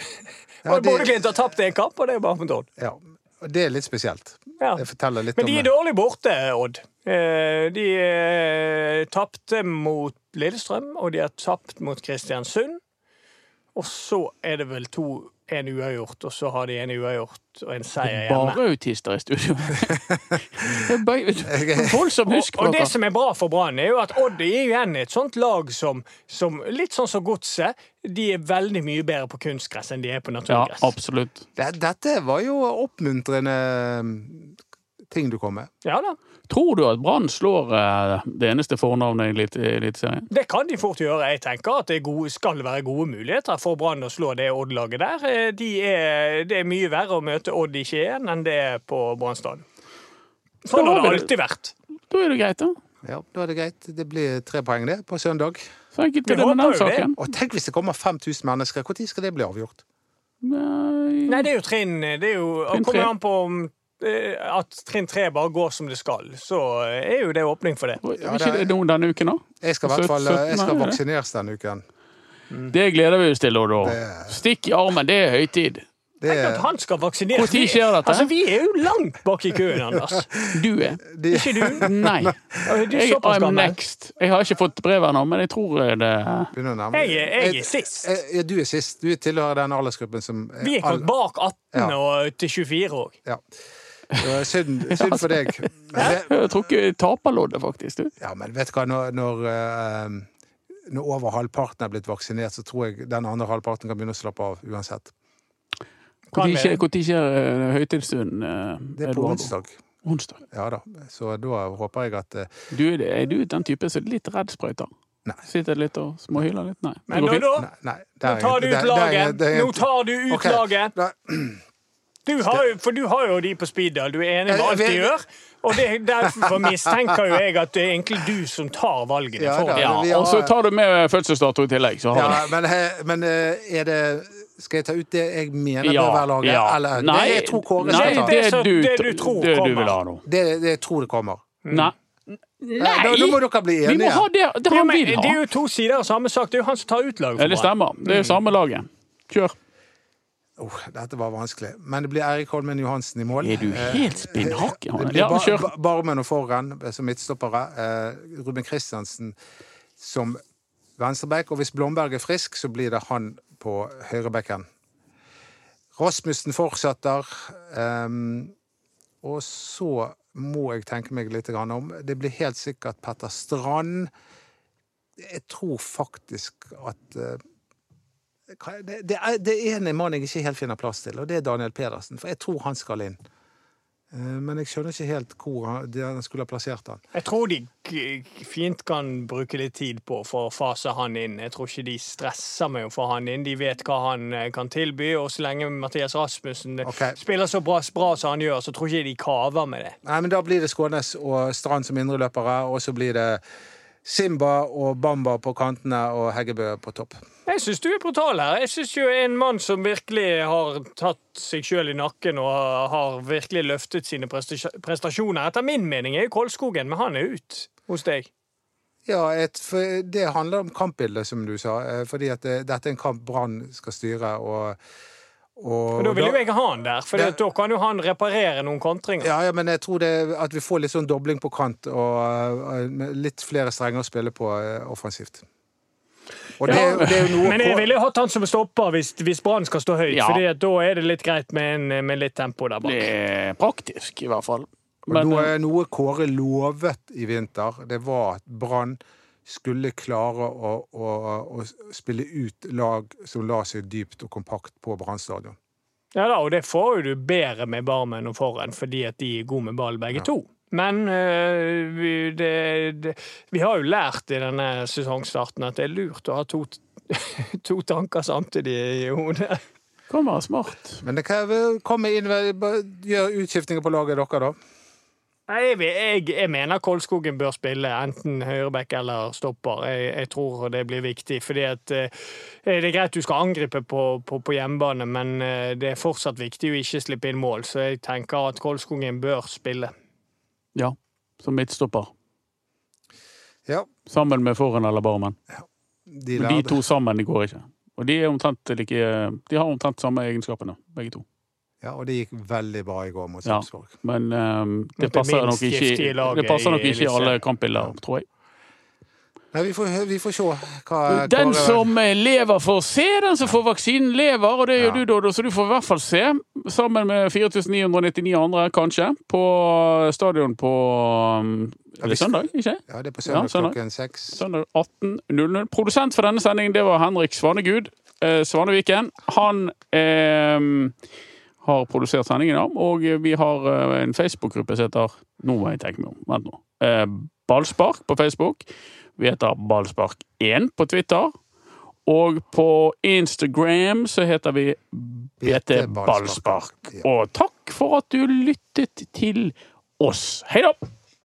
[SPEAKER 3] Ja,
[SPEAKER 4] [LAUGHS] Og
[SPEAKER 3] det-
[SPEAKER 4] Bodø-Glimt har tapt én kamp, og det er bare mot Odd.
[SPEAKER 3] Ja. Og Det er litt spesielt.
[SPEAKER 4] Ja.
[SPEAKER 3] Det forteller litt
[SPEAKER 4] Men
[SPEAKER 3] om
[SPEAKER 4] de er
[SPEAKER 3] det.
[SPEAKER 4] dårlig borte, Odd. Eh, De eh, tapte mot Lillestrøm, og de har tapt mot Kristiansund. Og så er det vel to en uavgjort, og så har de en uavgjort og en seier hjemme.
[SPEAKER 2] Bare autister i
[SPEAKER 4] [LAUGHS]
[SPEAKER 2] studio. Det er [LAUGHS] bare- Voldsom husk
[SPEAKER 4] Og det som er bra for Brann, er jo at Odd er jo igjen et sånt lag som, som Litt sånn som Godset. De er veldig mye bedre på kunstgress enn de er på
[SPEAKER 2] Ja,
[SPEAKER 4] naturgress.
[SPEAKER 2] absolutt.
[SPEAKER 3] Det- Dette var jo oppmuntrende eh, ting du kom med.
[SPEAKER 4] Ja da,
[SPEAKER 2] Tror du at Brann slår eh, det eneste fornavnet i Elit- Eliteserien?
[SPEAKER 4] Det kan de fort gjøre. Jeg tenker at det er gode, skal være gode muligheter for Brann å slå det Odd-laget der. Eh, De er, det er mye verre å møte Odd i Skien enn det er på Brann stadion. Sånn har det alltid vært.
[SPEAKER 2] Da er det greit, da.
[SPEAKER 3] Ja, Da er det greit. Det blir tre poeng det på søndag.
[SPEAKER 2] Så enkelt er
[SPEAKER 4] Vi
[SPEAKER 2] det med den
[SPEAKER 4] håper jo det.
[SPEAKER 2] saken.
[SPEAKER 3] Og tenk hvis det kommer 5000 mennesker. Når skal det bli avgjort?
[SPEAKER 2] Nei.
[SPEAKER 4] Nei, det er jo trinn Det er jo,
[SPEAKER 2] Trinn tre.
[SPEAKER 4] kommer an på om eh, at trinn tre bare går som det skal. Så er jo det åpning for det.
[SPEAKER 2] Er
[SPEAKER 3] det
[SPEAKER 2] ikke det noen denne uken, da?
[SPEAKER 3] Jeg skal i hvert
[SPEAKER 2] Søt-
[SPEAKER 3] fall eh, jeg skal
[SPEAKER 2] Altså, syttende, er det?
[SPEAKER 3] vaksineres denne uken.
[SPEAKER 4] Mm.
[SPEAKER 2] Det gleder vi oss til, Odd. og
[SPEAKER 3] Det-
[SPEAKER 2] Stikk i armen, det er høytid.
[SPEAKER 3] Det,
[SPEAKER 4] Tenk at han skal vaksineres.
[SPEAKER 2] Hvor tid skjer dette?
[SPEAKER 4] Altså, vi er jo langt bak i køen,
[SPEAKER 2] [LAUGHS]
[SPEAKER 4] Anders.
[SPEAKER 2] Du er.
[SPEAKER 3] de,
[SPEAKER 4] Ikke du?
[SPEAKER 2] Nei.
[SPEAKER 4] Er [LAUGHS] Du er
[SPEAKER 2] Jeg
[SPEAKER 4] såpass
[SPEAKER 2] I'm
[SPEAKER 4] gammel.
[SPEAKER 2] next. Jeg har ikke fått brev ennå, men jeg tror eh, det
[SPEAKER 3] begynner å nærme
[SPEAKER 4] Jeg er, jeg er
[SPEAKER 3] Jeg-
[SPEAKER 4] sist.
[SPEAKER 3] jeg- ja, Du er sist. Du tilhører den aldersgruppen som
[SPEAKER 4] Vi er kommet bak 18 og til 24 òg.
[SPEAKER 3] Ja. Det var Synd, synd for
[SPEAKER 4] [LAUGHS]
[SPEAKER 3] deg. Men det,
[SPEAKER 2] Jeg tror ikke jeg taper loddet, faktisk. Du.
[SPEAKER 3] Ja, men vet du hva, når, når, eh, når over halvparten er blitt vaksinert, så tror jeg den andre halvparten kan begynne å slappe av uansett.
[SPEAKER 4] Kan
[SPEAKER 2] Når skjer,
[SPEAKER 4] det.
[SPEAKER 2] hvor tid skjer eh, høytidsstunden? eh,
[SPEAKER 3] Det er på
[SPEAKER 2] Eduardo?
[SPEAKER 3] onsdag.
[SPEAKER 2] Onsdag.
[SPEAKER 3] Ja da. Så da håper jeg at eh,
[SPEAKER 2] Du er, det- er du den type som er litt redd sprøyter?
[SPEAKER 3] Nei.
[SPEAKER 2] Sitter litt og småhyler litt? Nei.
[SPEAKER 4] Men nå, da?
[SPEAKER 3] Nei, nei
[SPEAKER 4] Nå
[SPEAKER 3] der er
[SPEAKER 4] tar du
[SPEAKER 3] jeg-
[SPEAKER 4] ut
[SPEAKER 3] der- der er jeg-
[SPEAKER 4] laget!
[SPEAKER 3] der er jeg-
[SPEAKER 4] Nå tar du ut
[SPEAKER 3] Ok,
[SPEAKER 4] laget!
[SPEAKER 3] da-
[SPEAKER 4] Du har jo, for du har jo de på speeddal. Du er enig med
[SPEAKER 3] Jeg-
[SPEAKER 4] alt de
[SPEAKER 3] jeg-
[SPEAKER 4] gjør. Og det, derfor mistenker jo jeg at det er egentlig du som tar valgene
[SPEAKER 3] Ja,
[SPEAKER 4] for
[SPEAKER 3] da.
[SPEAKER 4] dem.
[SPEAKER 2] Ja,
[SPEAKER 3] vi har-
[SPEAKER 2] og så tar du med fødselsdato i tillegg, så har
[SPEAKER 3] Ja, men, eh, men eh, er det Skal jeg ta ut det jeg mener
[SPEAKER 2] du
[SPEAKER 3] bør være laget? Eller,
[SPEAKER 2] Nei,
[SPEAKER 3] det jeg tror Kåre
[SPEAKER 2] nei,
[SPEAKER 3] skal ta.
[SPEAKER 2] det,
[SPEAKER 4] Det som-
[SPEAKER 2] du,
[SPEAKER 4] det du tror
[SPEAKER 2] det du
[SPEAKER 4] kommer. Mm.
[SPEAKER 2] vil ha nå.
[SPEAKER 3] Det, det jeg tror det kommer.
[SPEAKER 2] Nei! Nei!
[SPEAKER 3] Da, da må dere bli
[SPEAKER 2] Vi må ha
[SPEAKER 3] enige.
[SPEAKER 2] det, det
[SPEAKER 4] Det er jo-
[SPEAKER 2] han
[SPEAKER 4] men
[SPEAKER 2] vil
[SPEAKER 4] Det er
[SPEAKER 2] ha.
[SPEAKER 4] jo to sider av samme sak. Det er jo han som tar ut laget.
[SPEAKER 2] Ja,
[SPEAKER 4] for
[SPEAKER 2] det
[SPEAKER 4] Brann.
[SPEAKER 2] stemmer. Det
[SPEAKER 3] Mm.
[SPEAKER 2] er jo samme laget. Kjør.
[SPEAKER 3] Oh, dette var vanskelig. Men det blir Eirik Holmen Johansen i mål. Eh,
[SPEAKER 2] Er du helt spinnhakk?
[SPEAKER 3] Det
[SPEAKER 2] Johanne?
[SPEAKER 3] blir
[SPEAKER 2] Ja,
[SPEAKER 3] Bar-
[SPEAKER 2] kjør.
[SPEAKER 3] Bar- Barmen og Forhen eh, som midtstoppere. Eh, Ruben Kristiansen som venstreback. Og hvis Blomberg er frisk, så blir det han på høyrebacken. Rasmussen fortsetter. ehm, og så må jeg tenke meg litt grann om. Det blir helt sikkert Petter Strand. Jeg tror faktisk at eh, hva- det, det, er, det er en mann jeg ikke helt finner plass til, og det er Daniel Pedersen. For jeg tror han skal inn. Eh, Men jeg skjønner ikke helt hvor han der han skulle ha plassert han.
[SPEAKER 4] Jeg tror de g- fint kan bruke litt tid på for å fase han inn. Jeg tror ikke de stresser med å få han inn. De vet hva han eh, kan tilby, og så lenge Mathias Rasmussen eh,
[SPEAKER 3] Ok.
[SPEAKER 4] spiller så bra, bra som han gjør, så tror ikke de kaver med det.
[SPEAKER 3] Nei, men Da blir det Skånes og Strand som indreløpere, og så blir det Simba og Bamba på kantene og Heggebø på topp.
[SPEAKER 4] Jeg syns du er brutal her. Jeg syns jo en mann som virkelig har tatt seg sjøl i nakken og har virkelig løftet sine prestasj- prestasjoner, etter min mening, er jo Kolskogen, men han er ut hos deg.
[SPEAKER 3] Ja, et, for Det handler om kampbildet, som du sa. eh, Fordi at det, dette er en kamp Brann skal styre. og... og-
[SPEAKER 4] Og da vil jo jeg ha han der, for
[SPEAKER 3] Det-
[SPEAKER 4] da kan jo han reparere noen kontringer.
[SPEAKER 3] Ja, ja, men jeg tror det, at vi får litt sånn dobling på kant og eh, med litt flere strenger å spille på eh, offensivt. Og det,
[SPEAKER 4] Ja,
[SPEAKER 3] det er jo noe
[SPEAKER 4] Men jeg
[SPEAKER 3] på-
[SPEAKER 4] ville hatt han som stopper hvis, hvis Brann skal stå høyt.
[SPEAKER 2] Ja.
[SPEAKER 4] Fordi at da er det litt greit med, en, med litt tempo der
[SPEAKER 2] Det
[SPEAKER 4] bak.
[SPEAKER 2] er praktisk, i hvert fall.
[SPEAKER 3] Og
[SPEAKER 2] Men, eh,
[SPEAKER 3] noe, noe Kåre lovet i vinter, det var at Brann skulle klare å, å, å spille ut lag som la seg dypt og kompakt på Brann stadion.
[SPEAKER 4] Ja da, og det får jo du bedre med Barmen og foran, fordi at de er gode med ball begge to. Men øh, vi, det, det, vi har jo lært i denne sesongstarten at det er lurt å ha to, [LAUGHS] to tanker samtidig i hodet.
[SPEAKER 2] kommer smart.
[SPEAKER 3] Men det kan vel komme inn bare Gjør utskiftinger på laget dere, da.
[SPEAKER 4] Nei, Jeg, jeg, jeg mener Kolskogen bør spille enten høyreback eller stopper. Jeg, jeg tror det blir viktig. fordi at eh, Det er greit du skal angripe på, på, på hjemmebane, men eh, det er fortsatt viktig å ikke slippe inn mål. Så jeg tenker at Kolskogen bør spille.
[SPEAKER 2] Ja, som midtstopper.
[SPEAKER 3] Ja,
[SPEAKER 2] Sammen med foran eller barmen.
[SPEAKER 3] de
[SPEAKER 2] Men de
[SPEAKER 3] lærde.
[SPEAKER 2] to sammen det går ikke. Og de, er omtrent like, de har omtrent samme egenskapene, begge to.
[SPEAKER 3] Ja, og det gikk veldig bra i går mot
[SPEAKER 2] Ja.
[SPEAKER 3] Sarpsborg.
[SPEAKER 2] Men ehm, det,
[SPEAKER 4] det
[SPEAKER 2] passer nok
[SPEAKER 4] minst
[SPEAKER 2] ikke,
[SPEAKER 4] giftige laget
[SPEAKER 2] det passer
[SPEAKER 4] i
[SPEAKER 2] nok ikke i alle
[SPEAKER 4] Eliteserien.
[SPEAKER 2] kampbilder, tror jeg.
[SPEAKER 3] Nei, vi får, vi får se hva
[SPEAKER 2] Den
[SPEAKER 3] Kåre-
[SPEAKER 2] som eh, lever, får se. Den som får vaksinen, lever. Og det gjør
[SPEAKER 3] Ja.
[SPEAKER 2] du, Dodo, så du får i hvert fall se. Sammen med 4999 andre, kanskje, på eh, stadion på um,
[SPEAKER 3] Ja,
[SPEAKER 2] er
[SPEAKER 3] vi-
[SPEAKER 2] det søndag, ikke?
[SPEAKER 3] Ja, det er på søndag
[SPEAKER 2] Ja, sånn søndag.
[SPEAKER 3] klokken seks.
[SPEAKER 2] Søndag 18.00. Produsent for denne sendingen, det var Henrik Svanegud eh, Svaneviken. Han eh, har produsert sendingen, ja. Og vi har eh, en Facebook-gruppe som heter Nå må jeg tenke meg om. Vent nå. Eh, Ballspark på Facebook. Vi heter Ballspark1 på Twitter. Og på Instagram så heter vi BT
[SPEAKER 3] BT Ballspark.
[SPEAKER 2] Ballspark.
[SPEAKER 3] Ja.
[SPEAKER 2] Og takk for at du lyttet til oss. Hei da!